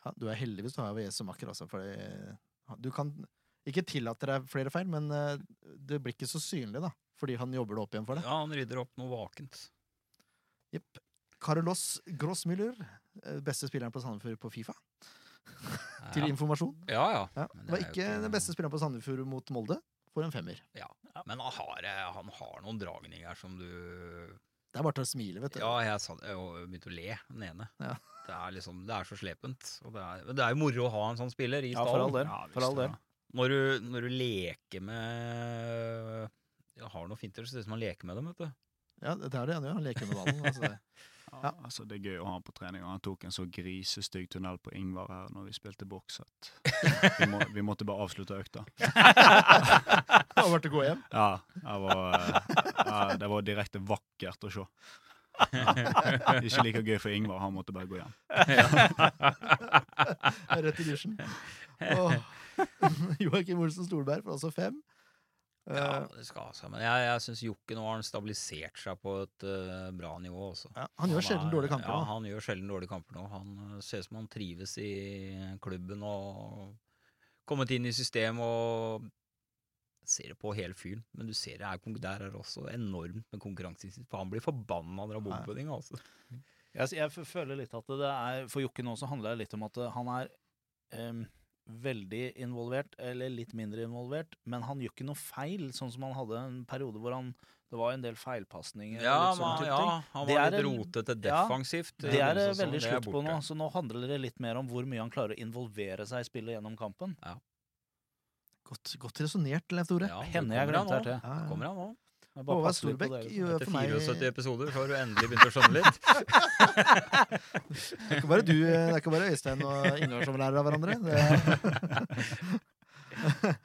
[SPEAKER 4] Ja, du er heldig hvis du har VS som makker, altså. For det, du kan ikke tillate deg flere feil, men eh, det blir ikke så synlig, da. Fordi han jobber det opp igjen for
[SPEAKER 1] Ja,
[SPEAKER 4] deg.
[SPEAKER 1] han rydder opp noe vakent.
[SPEAKER 4] Jepp. Carlos Grossmüller, eh, beste spilleren på Sandefjord på Fifa, til
[SPEAKER 1] Ja.
[SPEAKER 4] informasjon.
[SPEAKER 1] Ja, ja.
[SPEAKER 4] Ja.
[SPEAKER 1] Men det
[SPEAKER 4] Var
[SPEAKER 1] er jo
[SPEAKER 4] ikke
[SPEAKER 1] ikke-
[SPEAKER 4] den beste spilleren på Sandefjord mot Molde. For en femmer.
[SPEAKER 1] Men han har, eh, han har noen dragninger som du
[SPEAKER 4] Det er bare til å smile, vet du.
[SPEAKER 1] Ja, jeg, sa, jeg var- begynte å le, den ene.
[SPEAKER 4] Ja.
[SPEAKER 1] Det, er liksom, det er så slepent. Og det, er, men det er jo moro å ha en sånn spiller i
[SPEAKER 5] Ja, for all
[SPEAKER 1] stallen.
[SPEAKER 5] del.
[SPEAKER 6] Ja, visst
[SPEAKER 5] For all
[SPEAKER 6] det,
[SPEAKER 5] del.
[SPEAKER 1] når, du, når du leker med ja, Har noen finter, så ser det ut som man leker med dem. vet du.
[SPEAKER 4] Ja, det er det han gjør. Han leker med ballen. Altså det.
[SPEAKER 6] Ja. Altså, det er gøy å ha han på trening. og Han tok en så grisestygg tunnel på Ingvar her når vi spilte boks at vi, må, vi måtte bare avslutte økta.
[SPEAKER 4] Han var til å gå hjem.
[SPEAKER 6] Ja, det var, eh, ja, det var direkte vakkert å se. Ikke like gøy for Ingvar, han måtte bare gå hjem.
[SPEAKER 4] Rett i dusjen. Åh. Joakim Olsen Stolberg får også fem.
[SPEAKER 1] Ja,
[SPEAKER 4] Eh,
[SPEAKER 1] det skal ha seg, Men jeg, jeg syns Jokke nå har han stabilisert seg på et eh, bra nivå også.
[SPEAKER 4] ja, han gjør sjelden
[SPEAKER 1] er-
[SPEAKER 4] dårlige kamper.
[SPEAKER 1] Ja,
[SPEAKER 4] da.
[SPEAKER 1] han gjør sjelden dårlige kamper nå. Han eh, ser ut som han trives i klubben og kommet inn i systemet og ser det på hele fyren. Men du ser det er, kon- der er det også enormt med konkurranseinstinkt, for han blir forbanna når han bommer på ting. altså.
[SPEAKER 5] Jeg, jeg f- føler litt at det er For Jokke nå så handler det litt om at eh, han er em, veldig involvert, eller litt mindre involvert, men han gjør ikke noe feil, sånn som han hadde en periode hvor han Det var en del feilpasninger. og
[SPEAKER 1] Ja,
[SPEAKER 5] litt sånn
[SPEAKER 1] man,
[SPEAKER 5] type
[SPEAKER 1] ja,
[SPEAKER 5] ting.
[SPEAKER 1] han
[SPEAKER 5] Det
[SPEAKER 1] var
[SPEAKER 5] er
[SPEAKER 1] litt
[SPEAKER 5] en-
[SPEAKER 1] rotete
[SPEAKER 5] ja,
[SPEAKER 1] defensivt.
[SPEAKER 5] Det er det
[SPEAKER 1] noe sånn,
[SPEAKER 5] veldig
[SPEAKER 1] det er
[SPEAKER 5] slutt på nå, altså.
[SPEAKER 1] borte.
[SPEAKER 5] så nå handler det litt mer om hvor mye han klarer å involvere seg i spillet gjennom kampen.
[SPEAKER 4] Godt, godt resonnert, Leif Tore.
[SPEAKER 1] Ja,
[SPEAKER 5] Det
[SPEAKER 1] nå
[SPEAKER 5] hender jeg
[SPEAKER 1] kommer han
[SPEAKER 5] glemte her
[SPEAKER 1] nå.
[SPEAKER 5] til.
[SPEAKER 4] Ja, ja.
[SPEAKER 1] Kommer han nå?
[SPEAKER 5] Jeg bare
[SPEAKER 4] Håvard
[SPEAKER 5] passer litt på liksom.
[SPEAKER 4] Storbekk
[SPEAKER 5] dere.
[SPEAKER 4] gjør
[SPEAKER 1] Etter
[SPEAKER 4] for meg
[SPEAKER 1] 74
[SPEAKER 4] Det
[SPEAKER 1] episoder før du endelig begynte å skjønne litt.
[SPEAKER 4] er ikke bare du, det er ikke bare Øystein og Ingar som lærer av hverandre. Det...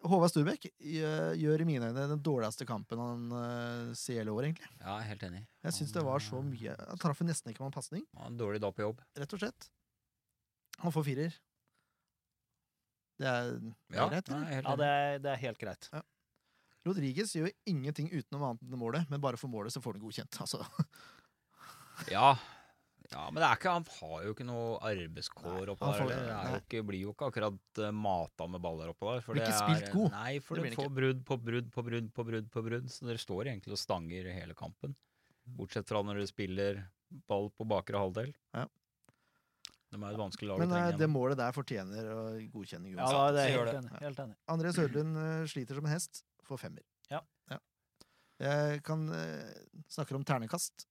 [SPEAKER 4] Håvard Sturbekk gjør gjør i mine øyne den dårligste kampen han eh, CL år, egentlig.
[SPEAKER 1] Ja, jeg er helt enig.
[SPEAKER 4] Jeg syns det var så mye Han traff nesten ikke med en pasning,
[SPEAKER 1] Han har en dårlig dag på jobb.
[SPEAKER 4] rett og slett. Han får firer. Det er, det er
[SPEAKER 1] Ja,
[SPEAKER 4] greit, eller?
[SPEAKER 1] nei, jeg er helt
[SPEAKER 5] Ja,
[SPEAKER 1] enig.
[SPEAKER 5] det er, det er helt greit.
[SPEAKER 4] Rodriguez gjør ingenting utenom annet enn målet, men bare for målet så får han godkjent. Altså,
[SPEAKER 1] Ja. ja, men det er ikke, han har jo ikke noe arbeidskår oppå
[SPEAKER 4] han får-
[SPEAKER 1] der. Det er jo ikke, blir jo ikke akkurat eh, mata med baller oppå der. For
[SPEAKER 4] Blir
[SPEAKER 1] det
[SPEAKER 4] ikke
[SPEAKER 1] er,
[SPEAKER 4] spilt god.
[SPEAKER 1] Nei, for
[SPEAKER 4] Det
[SPEAKER 1] det
[SPEAKER 4] blir
[SPEAKER 1] du
[SPEAKER 4] han
[SPEAKER 1] får brudd på brudd på brudd på brudd. på brudd Så dere står egentlig og stanger hele kampen. Bortsett fra når dere spiller ball på bakre halvdel.
[SPEAKER 4] Ja.
[SPEAKER 1] De er et vanskelig lag å
[SPEAKER 4] men eh,
[SPEAKER 1] trenge.
[SPEAKER 4] det
[SPEAKER 1] igjen.
[SPEAKER 4] målet der fortjener eh, godkjenning
[SPEAKER 5] Ja, da, det er
[SPEAKER 1] så gjør
[SPEAKER 5] helt
[SPEAKER 1] det.
[SPEAKER 5] enig. Helt enig.
[SPEAKER 4] André Sørlund eh, sliter som en hest, får femmer.
[SPEAKER 5] Ja.
[SPEAKER 4] Jeg kan eh, snakker om ternekast.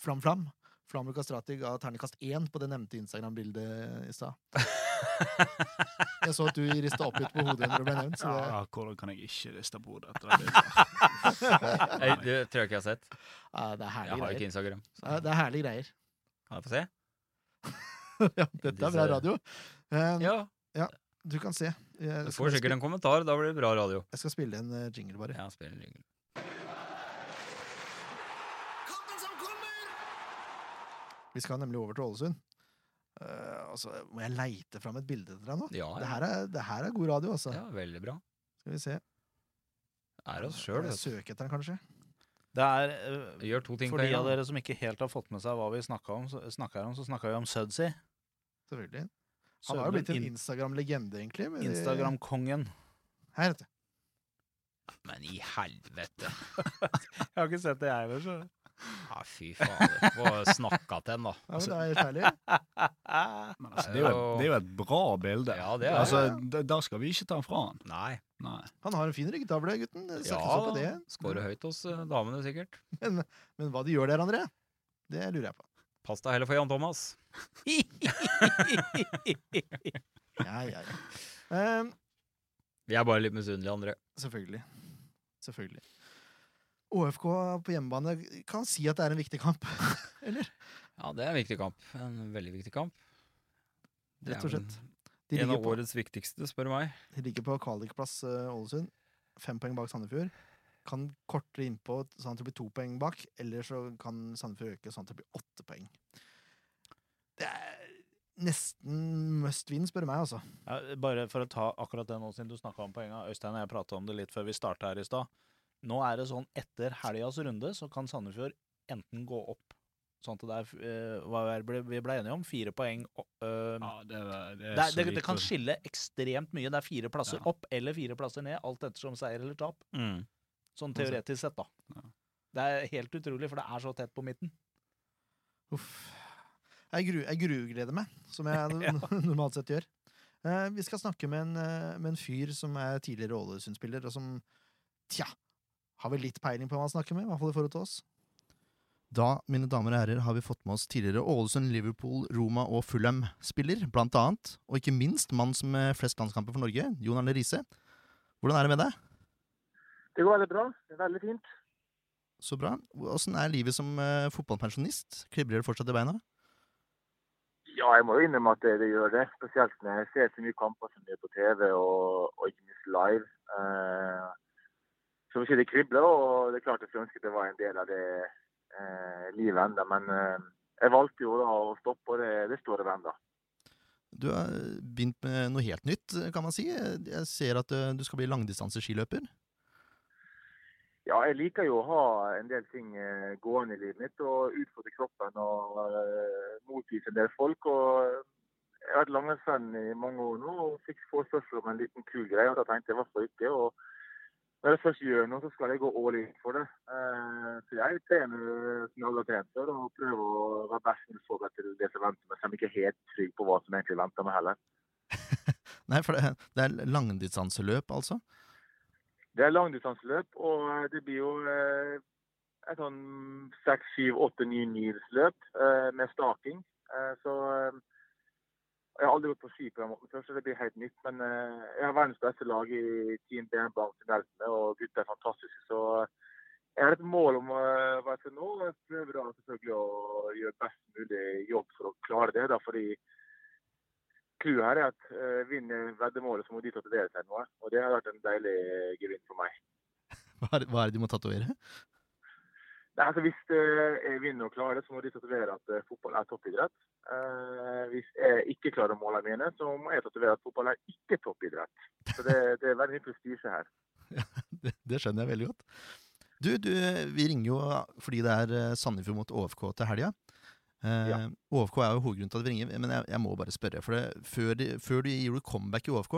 [SPEAKER 4] Flam Flam. Flam Lukastrati ga ternekast én på det nevnte Instagram-bildet i stad. Jeg så at du rista opp litt på hodet når det ble nevnt. Så det,
[SPEAKER 6] Ja, hvordan kan jeg ikke riste på hodet etter det? bildet?
[SPEAKER 1] Nei, det tror jeg ikke jeg har sett.
[SPEAKER 4] ja, det er
[SPEAKER 1] Jeg
[SPEAKER 4] herlige
[SPEAKER 1] har ikke
[SPEAKER 4] greier.
[SPEAKER 1] Instagram. så-
[SPEAKER 4] Ja, det er herlige greier.
[SPEAKER 1] Kan jeg få se?
[SPEAKER 4] ja, dette er bra radio. Eh,
[SPEAKER 1] Ja.
[SPEAKER 4] Du kan se. Jeg
[SPEAKER 1] Du
[SPEAKER 4] skal,
[SPEAKER 1] får sikkert en kommentar. Da blir det bra radio.
[SPEAKER 4] jeg skal spille en eh, jingle, bare.
[SPEAKER 1] Ja, spill en jingle.
[SPEAKER 4] Vi skal nemlig over til Ålesund. Eh, og så må jeg leite fram et bilde til deg nå.
[SPEAKER 1] Ja,
[SPEAKER 4] Det
[SPEAKER 1] ja.
[SPEAKER 4] her er, det her er god radio, altså.
[SPEAKER 1] ja, veldig bra.
[SPEAKER 4] Skal vi se.
[SPEAKER 1] Er oss sjøl,
[SPEAKER 4] Jeg
[SPEAKER 1] vet du.
[SPEAKER 4] søker etter den, kanskje.
[SPEAKER 5] Det er, øh,
[SPEAKER 1] Gjør to ting
[SPEAKER 5] for de
[SPEAKER 1] på en
[SPEAKER 5] av
[SPEAKER 1] gang.
[SPEAKER 5] dere som ikke helt har fått med seg hva vi snakka om, så snakka om, så snakka vi om Sudsey.
[SPEAKER 4] Selvfølgelig. Han har jo blitt en Instagram-legende, egentlig. med det-
[SPEAKER 5] Instagram-kongen.
[SPEAKER 4] Her, vet du.
[SPEAKER 1] Men i helvete!
[SPEAKER 5] Jeg har ikke sett det, jeg heller, så
[SPEAKER 1] Ja, fy fader. Få snakka til en, da.
[SPEAKER 4] Ja, men det er helt herlig.
[SPEAKER 6] Men altså, det, er jo et, det er jo et bra bilde.
[SPEAKER 1] Ja, det er
[SPEAKER 6] altså,
[SPEAKER 4] det.
[SPEAKER 6] det- Der skal vi ikke ta den fra han.
[SPEAKER 1] Nei.
[SPEAKER 6] Nei.
[SPEAKER 4] Han har en fin ryggtavle, gutten. Det settes
[SPEAKER 1] Ja,
[SPEAKER 4] opp på det.
[SPEAKER 1] Skårer høyt hos eh, damene, sikkert.
[SPEAKER 4] Men hva de gjør der, André, det lurer jeg på.
[SPEAKER 1] Pass deg heller for Jan Thomas.
[SPEAKER 4] Ja, ja, ja. Ehm,
[SPEAKER 1] Vi er bare litt misunnelige, André.
[SPEAKER 4] selvfølgelig. Selvfølgelig. ÅFK på hjemmebane kan si at det er en viktig kamp.
[SPEAKER 1] Ja, det er en viktig kamp. En veldig viktig kamp. Det
[SPEAKER 4] Rett og
[SPEAKER 1] er vel
[SPEAKER 4] slett. De
[SPEAKER 1] en
[SPEAKER 4] ligger
[SPEAKER 1] av
[SPEAKER 4] på,
[SPEAKER 1] årets viktigste, spør du meg.
[SPEAKER 4] de ligger på kvalikplass, eh, Ålesund. Fem poeng bak Sandefjord. Kan kortere innpå sånn at det blir to poeng bak, eller så kan Sandefjord øke sånn at det blir åtte poeng. Det er nesten must win, spør du meg, altså.
[SPEAKER 5] Ja, bare for å ta akkurat det nå, siden du snakka om poenga. Øystein og jeg prata om det litt før vi starta her i stad. Nå er det sånn etter helgas runde så kan Sandefjord enten gå opp Sånn at det er eh, hva er det ble- vi ble enige om, fire poeng opp, eh,
[SPEAKER 6] Ja, det, er- det, er
[SPEAKER 5] det,
[SPEAKER 6] så
[SPEAKER 5] er- det,
[SPEAKER 6] lite-
[SPEAKER 5] det kan skille ekstremt mye. Det er fire plasser
[SPEAKER 6] Ja.
[SPEAKER 5] opp eller fire plasser ned, alt ettersom seier eller tap.
[SPEAKER 1] Mm.
[SPEAKER 5] Sånn
[SPEAKER 4] Sånn sett.
[SPEAKER 5] teoretisk sett, da.
[SPEAKER 6] Ja.
[SPEAKER 5] Det er helt utrolig, for det er så tett på midten.
[SPEAKER 4] Uff. Jeg, gru, jeg grugleder meg, som jeg no- normalt sett gjør. Eh, vi skal snakke med en, eh, med en fyr som er tidligere Ålesund-spiller, og som tja, har vel litt peiling på hva han snakker med, i hvert fall i forhold til oss.
[SPEAKER 7] Da, mine damer og herrer, har vi fått med oss tidligere Ålesund, Liverpool, Roma og Fulham-spiller, blant annet, og ikke minst mann som eh, flest landskamper for Norge, Jon Arne Riise. Hvordan er det med deg?
[SPEAKER 9] Det går veldig bra. Det er veldig fint.
[SPEAKER 7] Så bra. Åssen er livet som eh, fotballpensjonist? Kribler det fortsatt i beina?
[SPEAKER 9] Ja, jeg må jo innrømme at det, det gjør det. Spesielt når jeg ser så mye kamper som det er på TV og, og ikke minst live. Eh, som ikke det kribler, og det er klart jeg skulle ønske det var en del av det eh, livet enda, men eh, jeg valgte jo da å stoppe, og det, det står jeg ved ennå.
[SPEAKER 7] Du har begynt med noe helt nytt, kan man si. Jeg ser at eh, du skal bli langdistanseskiløper.
[SPEAKER 9] Ja, jeg liker jo å ha en del ting eh, gående i livet mitt og utfordre kroppen og eh, motvise en del folk. og eh, Jeg har vært langrennsvenn i mange år nå og fikk forespørsel om en liten kul greie. og Da tenkte jeg hvorfor ikke. og Når jeg først gjør noe, så skal jeg gå all in for det. Eh, Så jeg trener som jeg aldri har trent før og prøver å være best mulig forberedt til det som venter meg, selv om jeg ikke er helt trygg på hva som egentlig venter meg heller.
[SPEAKER 4] Nei, for det, det er langdistanseløp, altså.
[SPEAKER 9] Det er langdistanseløp, og det blir jo eh, et sånn seks, syv, åtte, ni mils løp eh, med staking. Eh, så eh, jeg har aldri gått på ski på den måten før, så det blir helt nytt. Men eh, jeg har verdens beste lag i Team Bernbaum til Neltene, og gutta er fantastiske. Så eh, jeg har et mål om eh, hva jeg skal nå. og Jeg prøver da selvfølgelig å gjøre best mulig jobb for å klare det. da, fordi clouet her er at eh, vinner veddemålet, så må de tatovere seg noe. Og det har vært en deilig gevinst for meg.
[SPEAKER 4] Hva er, hva er det de må tatovere?
[SPEAKER 9] Nei, altså Hvis eh, jeg vinner og klarer det, så må de tatovere at eh, fotball er toppidrett. Eh, hvis jeg ikke klarer målene mine, så må jeg tatovere at fotball er ikke toppidrett. Så det, det er veldig mye prestisje her.
[SPEAKER 4] Det, det skjønner jeg veldig godt. Du, du, vi ringer jo fordi det er eh, Sandefjord mot OFK til helga. Eh,
[SPEAKER 9] Ja.
[SPEAKER 4] OFK er jo hovedgrunnen til at vi ringer, men jeg, jeg må bare spørre. For det, før, de, før du gjorde comeback i OFK,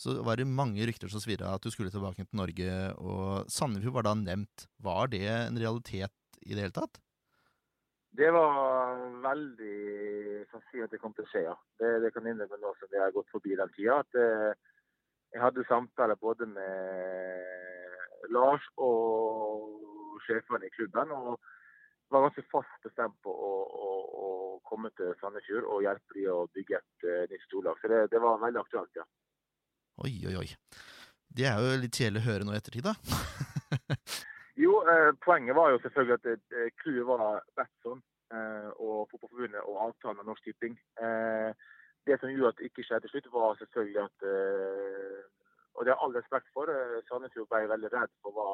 [SPEAKER 4] så var det mange rykter som svirra at du skulle tilbake til Norge, og Sandefjord var da nevnt. Var det en realitet i det hele tatt?
[SPEAKER 9] Det var veldig sannsynlig at det kom til å skje, ja. Det, det kan jeg innrømme nå som vi har gått forbi den tida. At eh, jeg hadde samtaler både med Lars og sjefene i klubben. Og var ganske fast bestemt på å, å, å komme til Sandefjord og hjelpe dem å bygge et eh, nytt storlag. Så det, det var veldig aktuelt, ja.
[SPEAKER 4] Oi, oi, oi. Det er jo litt kjedelig å høre nå i ettertid, da.
[SPEAKER 9] Jo, eh, poenget var jo selvfølgelig at eh, crewet var Betson eh, og Fotballforbundet og avtalen med Norsk Tipping. Eh, det som gjorde at det ikke skjedde til slutt, var selvfølgelig at eh, Og det har jeg all respekt for. Eh, Sandefjord ble veldig redd for hva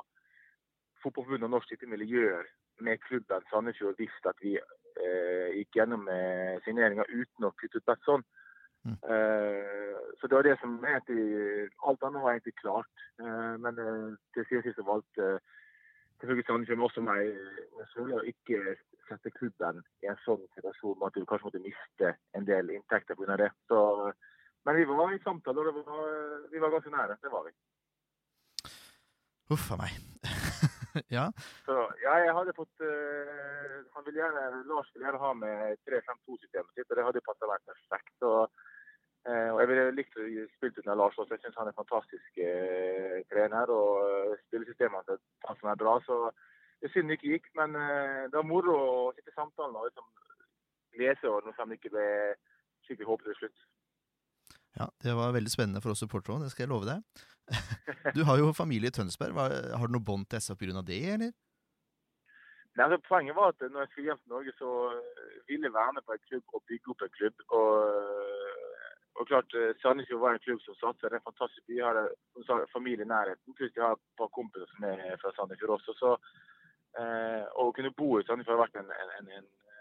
[SPEAKER 9] Fotballforbundet og Norsk Tipping ville gjøre med klubben Sandefjord hvis at vi eh, gikk gjennom med signeringa uten å kutte ut Betson.
[SPEAKER 4] Mm.
[SPEAKER 9] Eh, så det var det som egentlig Alt annet var egentlig klart. Eh, men eh, til siden sist valgte eh, selvfølgelig Sandefjord, men også meg eh, selv, å ikke sette klubben i en sånn situasjon med at du kanskje måtte miste en del inntekter pga. det. Så, men vi var i samtale, og det var, vi var ganske nære. Det var vi.
[SPEAKER 4] Uff a meg. ja,
[SPEAKER 9] Så ja, jeg hadde fått eh, han ville gjerne, Lars ville gjerne ha med 3-5-2-systemet sitt, og det hadde passa meg perfekt. Så, eh, og jeg ville likt å spille uten Lars også. Jeg syns han er en fantastisk eh, trener, og eh, spillesystemene til passer meg bra. Så det er synd det ikke gikk, men eh, det var moro å sitte i samtalen og liksom lese og noe som ikke ble skikkelig håpløst slutt.
[SPEAKER 4] Ja, det var veldig spennende for oss supportere òg, det skal jeg love deg. Du har jo familie i Tønsberg. Hva- Har du noe bånd til SF pga. det, eller?
[SPEAKER 9] Nei, altså, poenget var at når jeg skulle hjem til Norge, så eh, ville jeg være med på en klubb og bygge opp en klubb. Og, og klart, eh, Sandefjord var en klubb som satser. Det er en fantastisk by. Jeg har eh, som sa, familie i nærheten. Plutselig har jeg et par kompiser som er fra Sandefjord også. Så, eh, og å kunne bo i Sandefjord har vært en, en, en, en,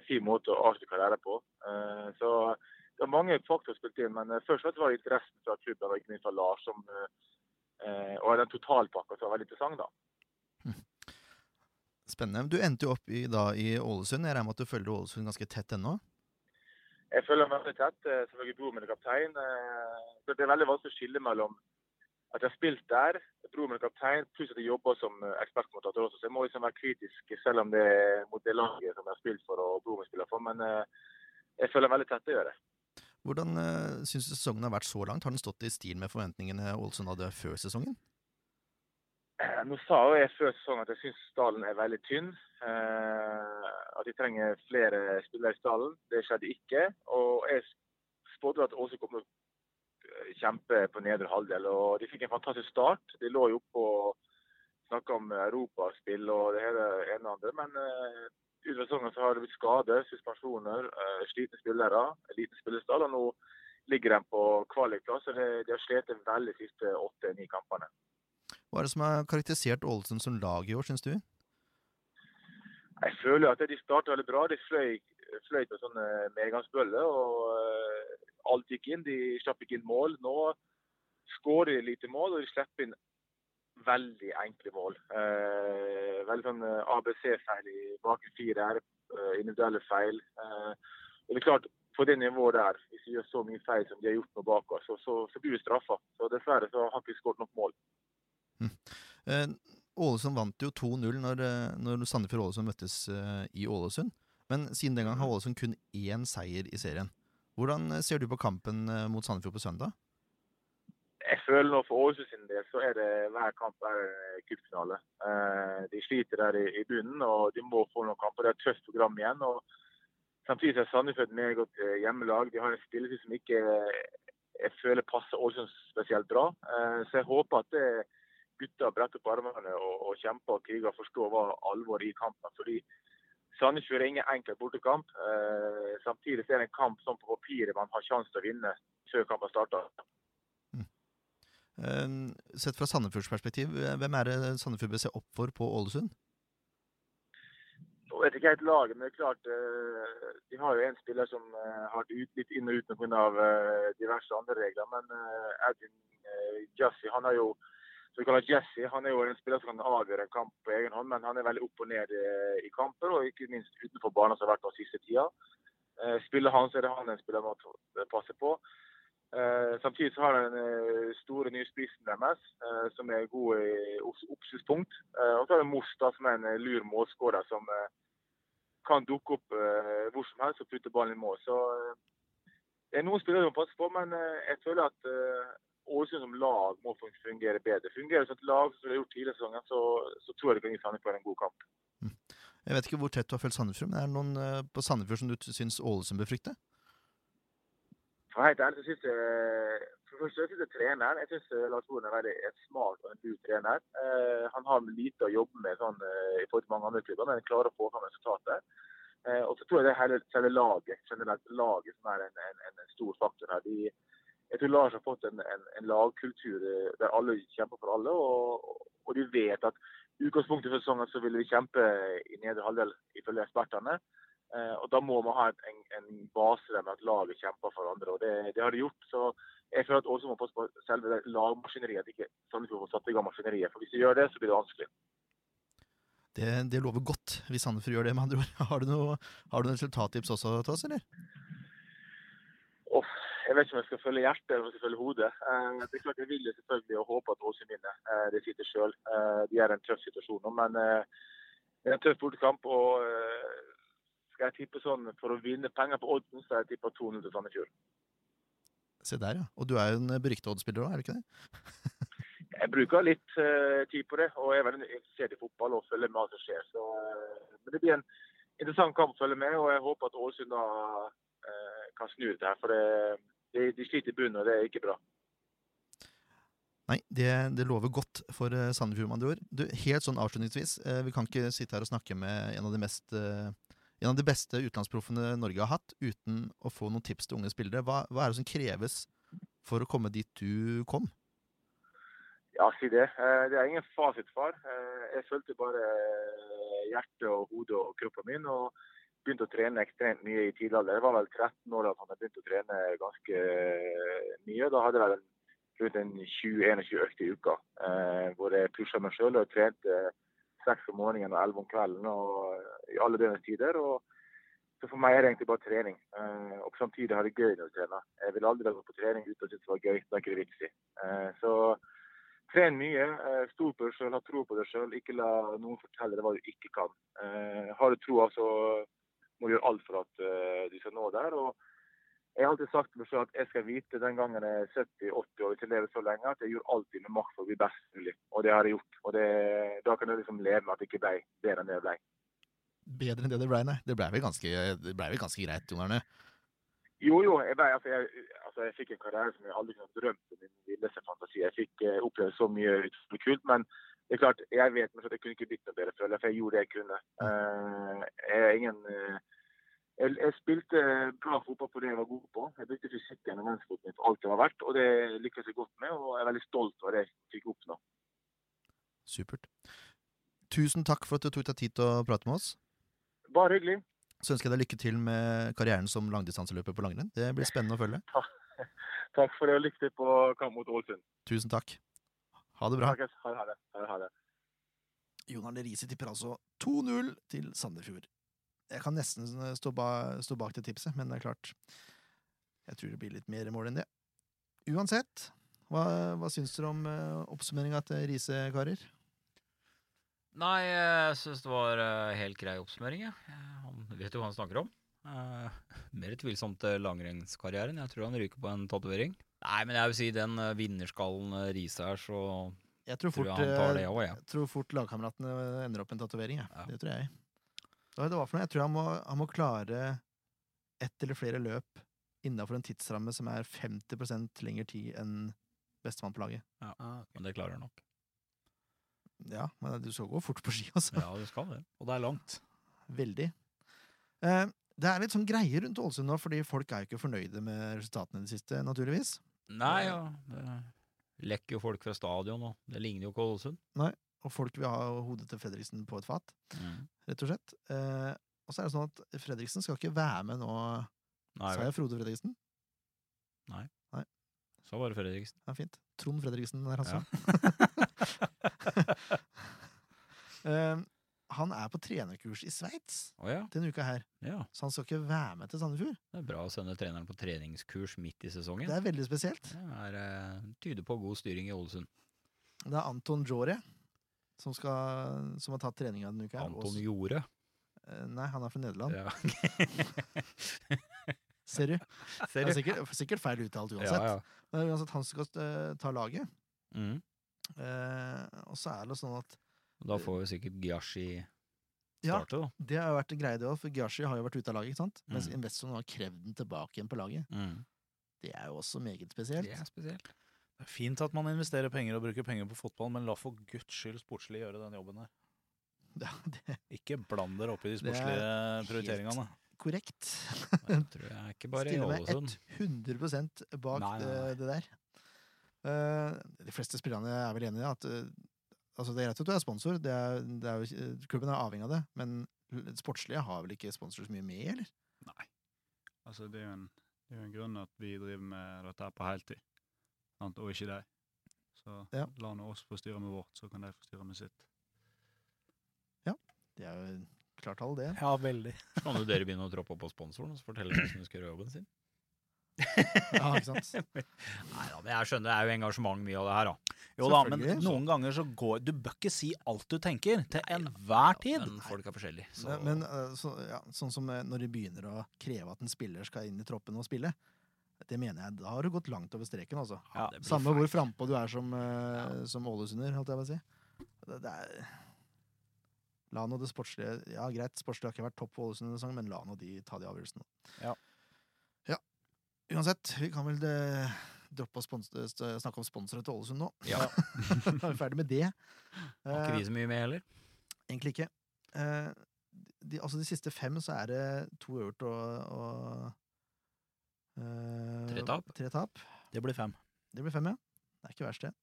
[SPEAKER 9] en fin måte å avslutte karrieren på. Eh, så det var mange faktorer som spilte inn, men eh, først og fremst var det interessen fra klubben og ikke minst fra Lars som eh, eh, og den totalpakka som var veldig interessant, da.
[SPEAKER 4] Spennende. Du endte jo opp i, da i Ålesund. Jeg regner med at du følger Ålesund ganske tett ennå?
[SPEAKER 9] Jeg føler meg veldig tett. eh, Selvfølgelig bror min er kaptein. eh, Så det er veldig vanskelig å skille mellom at jeg har spilt der, bror min er kaptein, pluss at jeg jobber som eh, ekspertkommentator også. Så jeg må liksom være kritisk, selv om det er mot det laget som jeg har spilt for og bror min spiller for. Men eh, jeg føler meg veldig tett, det gjør jeg.
[SPEAKER 4] Hvordan uh, syns du sesongen har vært så langt? Har den stått i stil med forventningene Ålesund hadde før sesongen?
[SPEAKER 9] Eh, Nå sa jo jeg før sesongen at jeg syns stallen er veldig tynn. Eh, at de trenger flere spillere i stallen. Det skjedde ikke. Og jeg spådde at Åse kom til å kjempe på nedre halvdel. Og de fikk en fantastisk start. De lå jo oppe og snakka om europaspill og det hele ene og andre. Men eh, utover sesongen så har det blitt skader, suspensjoner, eh, slitne spillere, en liten spillerstall. Og nå ligger de på kvalikplass. og det- De har slitt veldig de siste åtte-ni kampene.
[SPEAKER 4] Hva er det som har karakterisert Ålesund som lag i år, syns du?
[SPEAKER 9] Jeg føler at de starta veldig bra. De fløy, fløy på sånne eh, medgangsbøller. og eh, Alt gikk inn. De slapp ikke inn mål. Nå skårer de lite mål, og de slipper inn veldig enkle mål. Eh, veldig sånn eh, ABC-feil i bakre fire her. eh, individuelle feil. Eh, og det er klart, på det nivået der, hvis de gjør så mye feil som de har gjort nå bak oss, så, så, så blir vi straffa. Så dessverre så har vi ikke skåret nok mål.
[SPEAKER 4] Eh, Ålesund vant jo 2-0 når, eh, når Sandefjord og Ålesund møttes eh, i Ålesund. Men siden den gang har Ålesund kun én seier i serien.
[SPEAKER 7] Hvordan ser du på kampen eh, mot Sandefjord på søndag?
[SPEAKER 9] Jeg føler nå for Ålesund sin del så er det hver kamp er en cupfinale. Eh, De sliter der i, i bunnen, og de må få noen kamper. Det er et tøft program igjen. og Samtidig så er Sandefjord et meget godt eh, hjemmelag. De har en spillestil som ikke eh, jeg føler passer Ålesund spesielt bra. Eh, Så jeg håper at eh, gutta bretter opp armene og, og kjemper og kriger og forstår hva alvoret i kampen. Fordi Sandefjord er ingen enkel bortekamp. Eh, Samtidig så er det en kamp som på papiret man har sjanse til å vinne før kampen starter.
[SPEAKER 7] Eh, Sett fra Sandefjords perspektiv, eh, hvem er det Sandefjord bør se opp for på Ålesund?
[SPEAKER 9] Nå vet ikke helt laget, men det er klart eh, de har jo en spiller som eh, har vært ut, litt inn og ut pga. Uh, diverse andre regler. Men uh, Edin eh, Jesse, han er jo som vi kaller Jesse, han er jo en spiller som kan avgjøre en kamp på egen hånd, men han er veldig opp og ned eh, i kamper, og ikke minst utenfor banen som har vært den siste tida. Eh, spiller han, så er det han en spiller må t- passe på. Eh, samtidig så har den eh, store nye spissen deres, eh, som er god i obs- oppsynspunkt. Eh, og så har det Mostad, som er en eh, lur målskårer som eh, kan dukke opp eh, hvor som helst og putte ballen i mål. Så eh, det er noen spillere som passer på, men eh, jeg føler at eh, Ålesund som lag må fun- fungere bedre. Fungerer som et lag som de har gjort tidligere i sesongen, så, så tror jeg det kan gi Sandefjord en god kamp.
[SPEAKER 7] Jeg vet ikke hvor tett du har fulgt Sandefjord, men er det noen eh, på Sandefjord som du t- syns Ålesund bør frykte?
[SPEAKER 9] For helt ærlig så synes jeg for det første så synes jeg treneren jeg synes eh, Lars Boren er veldig en smart og en lur trener. Eh, han har lite å jobbe med sånn, eh, i forhold til mange andre klubber, men klarer å få fram resultater. Eh, og så tror jeg det er hele, hele laget generelt laget som er en, en, en stor faktor her. De, jeg tror Lars har fått en, en, en lagkultur eh, der alle kjemper for alle, og, og de vet at i utgangspunktet for sesongen så ville vi kjempe i nedre halvdel ifølge ekspertene. Eh, og Da må man ha en, en, en base der med at laget kjemper for hverandre. og det, det har de gjort. så Jeg føler at Ålesund må passe på selve det lagmaskineriet, at ikke Sandefjord får satt i gang maskineriet. for Hvis de gjør det, så blir det vanskelig.
[SPEAKER 7] Det, det lover godt hvis Sandefjord gjør det, med andre ord. Har du noe, har du noen resultattips også til oss, eller?
[SPEAKER 9] Uff, jeg vet ikke om jeg skal følge hjertet eller om jeg skal følge hodet. Eh, det er klart Jeg vil jo selvfølgelig og håpe at Ålesund vinner. Eh, det sitter sjøl. Eh, de er i en tøff situasjon nå, men eh, det er en tøff bortekamp. og eh, Skal jeg tippe sånn for å vinne penger på oddsen, så har jeg tippa 200 til Sandefjord.
[SPEAKER 7] Se der, ja. Og du er jo en berykta oddspiller òg, er du ikke det?
[SPEAKER 9] Jeg bruker litt eh, tid på det, og jeg er veldig interessert i fotball og følger med hva som skjer. Så, eh, men det blir en interessant kamp å følge med, og jeg håper at Ålesund da eh, kan snu det her. For det, de, de sliter i bunnen, og det er ikke bra.
[SPEAKER 7] Nei, det, det lover godt for eh, Sandefjord, med andre ord. Du, helt sånn avslutningsvis, eh, vi kan ikke sitte her og snakke med en av de, mest, eh, en av de beste utenlandsproffene Norge har hatt, uten å få noen tips til unge spillere. Hva, hva er det som kreves for å komme dit du kom?
[SPEAKER 9] Ja, si det. Eh, Det er ingen fasitfar. Eh, Jeg fulgte bare eh, hjertet og hodet og kroppen min. og begynte å trene ekstremt mye i tidlig alder. Jeg var vel 13 år da han begynte å trene ganske eh, mye. Da hadde jeg vel en- rundt en 20-21 økter i uka. Eh, hvor jeg pusha meg sjøl og trente eh, seks om morgenen og elleve om kvelden og eh, i alle døgnets tider. og så For meg er det egentlig bare trening. Eh, og samtidig har jeg det gøy når jeg trener. Jeg vil aldri gå på trening uten å synes det var gøy. Det er ikke det vits i. Eh, så Tren mye, eh, stol på deg sjøl, ha tro på deg sjøl. Ikke la noen fortelle deg hva du ikke kan. Eh, Har du troa, så må du gjøre alt for at eh, du skal nå der. Og jeg har alltid sagt til meg selv at jeg skal vite den gangen jeg er 70-80 år, hvis jeg lever så lenge, at jeg gjør alltid med makt for å bli best mulig. Og det har jeg gjort. Og det, da kan jeg liksom leve med at det ikke ble bedre enn det jeg ble.
[SPEAKER 7] Bedre enn det det ble, nei. Det ble vel ganske, det ble vel ganske greit, Jon Arne.
[SPEAKER 9] Jo, jo. Jeg, ble, altså, jeg, altså, jeg fikk en karriere som jeg aldri kunne ha drømt om i min villeste fantasi. Jeg fikk eh, oppleve så mye utrolig kult. Men det er klart, jeg vet meg selv at jeg kunne ikke blitt noe bedre, føler jeg. For jeg gjorde det jeg kunne. Eh, jeg er ingen... eh, jeg, jeg spilte bra fotball på det jeg var god på. Jeg brukte fysikken og venstrefoten min for alt det var verdt. Og det lykkes jeg godt med, og jeg er veldig stolt over det jeg fikk oppnå.
[SPEAKER 7] Supert. Tusen takk for at du tok deg tid til å prate med oss.
[SPEAKER 9] Bare hyggelig.
[SPEAKER 7] Så ønsker jeg deg lykke til med karrieren som langdistanseløper på langrenn. Det blir spennende å følge.
[SPEAKER 9] Takk for det, og lykke til på kamp mot Ålesund.
[SPEAKER 7] Tusen takk. Ha det bra.
[SPEAKER 9] Snakkes. Ha det, ha det. Ha det, ha det.
[SPEAKER 4] Jon Arne Riise tipper altså 2-0 til Sandefjord. Jeg kan nesten eh, stå, ba stå bak det tipset, men det er klart Jeg tror det blir litt mer mål enn det. Uansett, hva, hva syns dere om uh, oppsummeringa til Riise, karer?
[SPEAKER 1] Nei, jeg syns det var eh, helt grei oppsummering. jeg. Eh, Han vet jo hva han snakker om. Eh, mer tvilsomt til langrennskarrieren. Jeg tror han ryker på en tatovering. Nei, men jeg vil si den eh, vinnerskallen eh, Riise her, så
[SPEAKER 4] Jeg tror
[SPEAKER 1] tror
[SPEAKER 4] fort,
[SPEAKER 1] jeg han tar
[SPEAKER 4] eh,
[SPEAKER 1] det òg, jeg.
[SPEAKER 4] jeg tror fort lagkameratene eh, ender opp med en tatovering. jeg.
[SPEAKER 1] Ja.
[SPEAKER 4] Det tror jeg. Hva var det det var for noe? Jeg tror han må, han må klare ett eller flere løp innafor en tidsramme som er 50 lengre tid enn bestemann på laget.
[SPEAKER 1] Men det klarer han nok.
[SPEAKER 4] Ja, men du skal gå fort på ski, altså.
[SPEAKER 1] Ja, du skal det.
[SPEAKER 5] Og det er langt.
[SPEAKER 4] Veldig. Eh, det er litt sånn greier rundt Ålesund nå, fordi folk er jo ikke fornøyde med resultatene i det siste, naturligvis.
[SPEAKER 1] Nei, ja. Det lekker jo folk fra stadion, og det ligner jo ikke Ålesund.
[SPEAKER 4] Og folk vil ha hodet til Fredriksen på et fat, rett og slett. Eh, og så er det sånn at Fredriksen skal ikke være med nå,
[SPEAKER 1] Nei,
[SPEAKER 4] sa jeg Frode Fredriksen.
[SPEAKER 1] så var det Fredriksen.
[SPEAKER 4] Ja, fint. Trond Fredriksen der, altså. eh, han er på trenerkurs i Sveits
[SPEAKER 1] Å ja.
[SPEAKER 4] denne uka her,
[SPEAKER 1] ja.
[SPEAKER 4] så han skal ikke være med til Sandefjord.
[SPEAKER 1] Det er bra å sende treneren på treningskurs midt i sesongen.
[SPEAKER 4] Det er veldig spesielt.
[SPEAKER 1] Det er, eh, tyder på god styring i Ålesund.
[SPEAKER 4] Det er Anton Jore som, skal, som har tatt treninga denne uka. her, og
[SPEAKER 1] Anton Jorde.
[SPEAKER 4] Eh, Nei, han er fra Nederland.
[SPEAKER 1] Ja.
[SPEAKER 4] Ser du? Det
[SPEAKER 1] Ser
[SPEAKER 4] er
[SPEAKER 1] du?
[SPEAKER 4] sikkert, sikkert feil uttalt
[SPEAKER 1] Ja,
[SPEAKER 4] uansett.
[SPEAKER 1] ja.
[SPEAKER 4] Men det er uansett han som skal eh, ta laget.
[SPEAKER 1] Mm.
[SPEAKER 4] Eh, og så er det sånn at
[SPEAKER 1] Da får jo sikkert Giashi
[SPEAKER 4] Ja,
[SPEAKER 1] starte, da.
[SPEAKER 4] det har jo vært en greie, det òg, for Gashi har jo vært ute av laget, ikke sant? Mens
[SPEAKER 1] Mm.
[SPEAKER 4] Investor nå har krevd den tilbake igjen på laget. Det er jo også meget spesielt.
[SPEAKER 1] Det er spesielt.
[SPEAKER 5] Det er fint at man investerer penger og bruker penger på fotball, men la for guds skyld sportslig gjøre den jobben der.
[SPEAKER 4] Ja, det er
[SPEAKER 5] Ikke bland dere opp i de
[SPEAKER 4] Det er
[SPEAKER 5] sportslige
[SPEAKER 4] helt-
[SPEAKER 5] prioriteringene.
[SPEAKER 4] korrekt.
[SPEAKER 1] Jeg tror jeg er ikke bare i
[SPEAKER 4] Stiller meg
[SPEAKER 1] Ålesund.
[SPEAKER 4] 100 bak
[SPEAKER 1] Nei, nei, nei.
[SPEAKER 4] Det, det der. Eh, de fleste spillerne er vel enig i at eh, altså Det er greit at du er sponsor, det er, det er jo, ikke- klubben er avhengig av det, men l- sportslige har vel ikke sponsor så mye med, eller?
[SPEAKER 6] Nei. Altså, det er jo en, det er jo en grunn at vi driver med dette her på heltid, sant? og ikke deg. Så
[SPEAKER 4] Ja.
[SPEAKER 6] la nå oss få styre med vårt, så kan de få styre med sitt.
[SPEAKER 4] Det er jo klart all det.
[SPEAKER 5] Ja, veldig.
[SPEAKER 1] Så kan jo dere begynne å troppe opp på sponsoren og så fortelle hvordan du skal gjøre jobben sin.
[SPEAKER 4] Ja, ikke sant?
[SPEAKER 1] Nei da, men jeg skjønner det er jo engasjement mye av det her, da.
[SPEAKER 5] Jo da, men
[SPEAKER 4] Selvfølgelig.
[SPEAKER 5] noen ganger så går Du bør ikke si alt du tenker, til enhver tid.
[SPEAKER 1] Men folk er forskjellige, så
[SPEAKER 4] Men, men eh, så, ja, sånn som eh, når de begynner å kreve at en spiller skal inn i troppen og spille, det mener jeg, da har du gått langt over streken, altså.
[SPEAKER 1] ja, det blir
[SPEAKER 4] Samme hvor
[SPEAKER 1] feil.
[SPEAKER 4] frampå du er som, eh, som ålesunder, holdt jeg på å si. Det, det er La nå det sportslige Ja, greit, sportslig har ikke vært topp på Ålesund denne sesongen, men la nå de ta de avgjørelsene.
[SPEAKER 5] Ja.
[SPEAKER 4] Ja. Uansett, vi kan vel eh, droppe å spons- eh, snakke om sponsorer til Ålesund nå.
[SPEAKER 1] Ja,
[SPEAKER 4] Da er vi ferdig med det.
[SPEAKER 1] har
[SPEAKER 4] Eh,
[SPEAKER 1] ikke vi så mye med heller.
[SPEAKER 4] Egentlig ikke. Eh, de, altså de siste fem så er det to øvert og, og eh,
[SPEAKER 1] Tre tap.
[SPEAKER 4] Tre tap.
[SPEAKER 5] Det blir fem.
[SPEAKER 4] Det blir fem, ja. Det er ikke verst, det.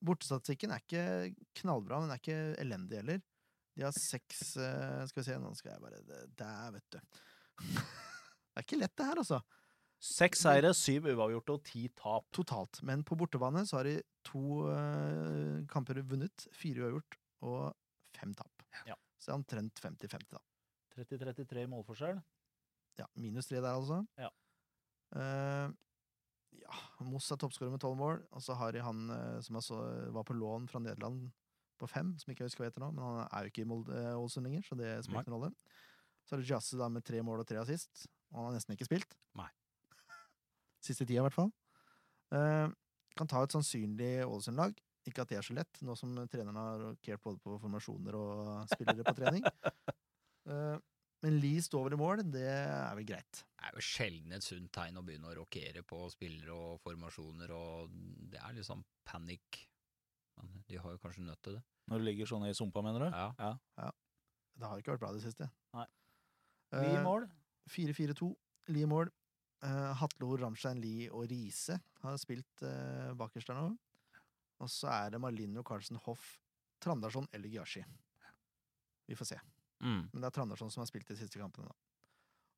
[SPEAKER 4] Bortestatistikken er ikke knallbra, men den er ikke elendig heller. De har seks eh, Skal vi se, nå skal jeg bare det- Der, vet du. det er ikke lett, det her, altså.
[SPEAKER 5] Seks seire, syv uavgjorte og ti tap.
[SPEAKER 4] Totalt. Men på bortebane så har de to eh, kamper vunnet, fire uavgjort og fem tap.
[SPEAKER 5] Ja.
[SPEAKER 4] Så det er omtrent 50-50, da.
[SPEAKER 5] 30-33 i målforskjell.
[SPEAKER 4] Ja, minus tre der, altså.
[SPEAKER 5] Ja.
[SPEAKER 4] Eh, ja, Moss er toppskårer med tolv mål, og så har de han eh, som altså var på lån fra Nederland på fem, som ikke jeg husker hva heter nå, men han er jo ikke i Molde- eh, Ålesund lenger, så det spiller
[SPEAKER 1] Nei.
[SPEAKER 4] ikke noen rolle. Så er det Jazzy da med tre mål og tre assist, og han har nesten ikke spilt.
[SPEAKER 1] Nei.
[SPEAKER 4] Siste tida, i hvert fall. Eh, kan ta et sannsynlig Ålesund-lag. Ikke at det er så lett, nå som treneren har rokert både på formasjoner og spillere på trening. Eh, men Lie står vel i mål, det er vel greit.
[SPEAKER 1] Det er jo sjelden et sunt tegn å begynne å rokere på spillere og formasjoner, og det er litt sånn panikk. Men de har jo kanskje nødt til det.
[SPEAKER 5] Når du ligger sånn i sumpa, mener du?
[SPEAKER 1] Ja.
[SPEAKER 4] Det har ikke vært bra i det siste.
[SPEAKER 5] Nei. Ni
[SPEAKER 4] Eh,
[SPEAKER 5] mål.
[SPEAKER 4] 4-4-2, Lie i mål. Eh, Hatlo, Ramstein, Lie og Riise har spilt eh, bakerst der nå. Og så er det Marlino, Carlsen, Hoff, Trandarsson eller Gyashi. Vi får se.
[SPEAKER 1] Mm.
[SPEAKER 4] Men det er Trandarsson som har spilt de siste kampene, da.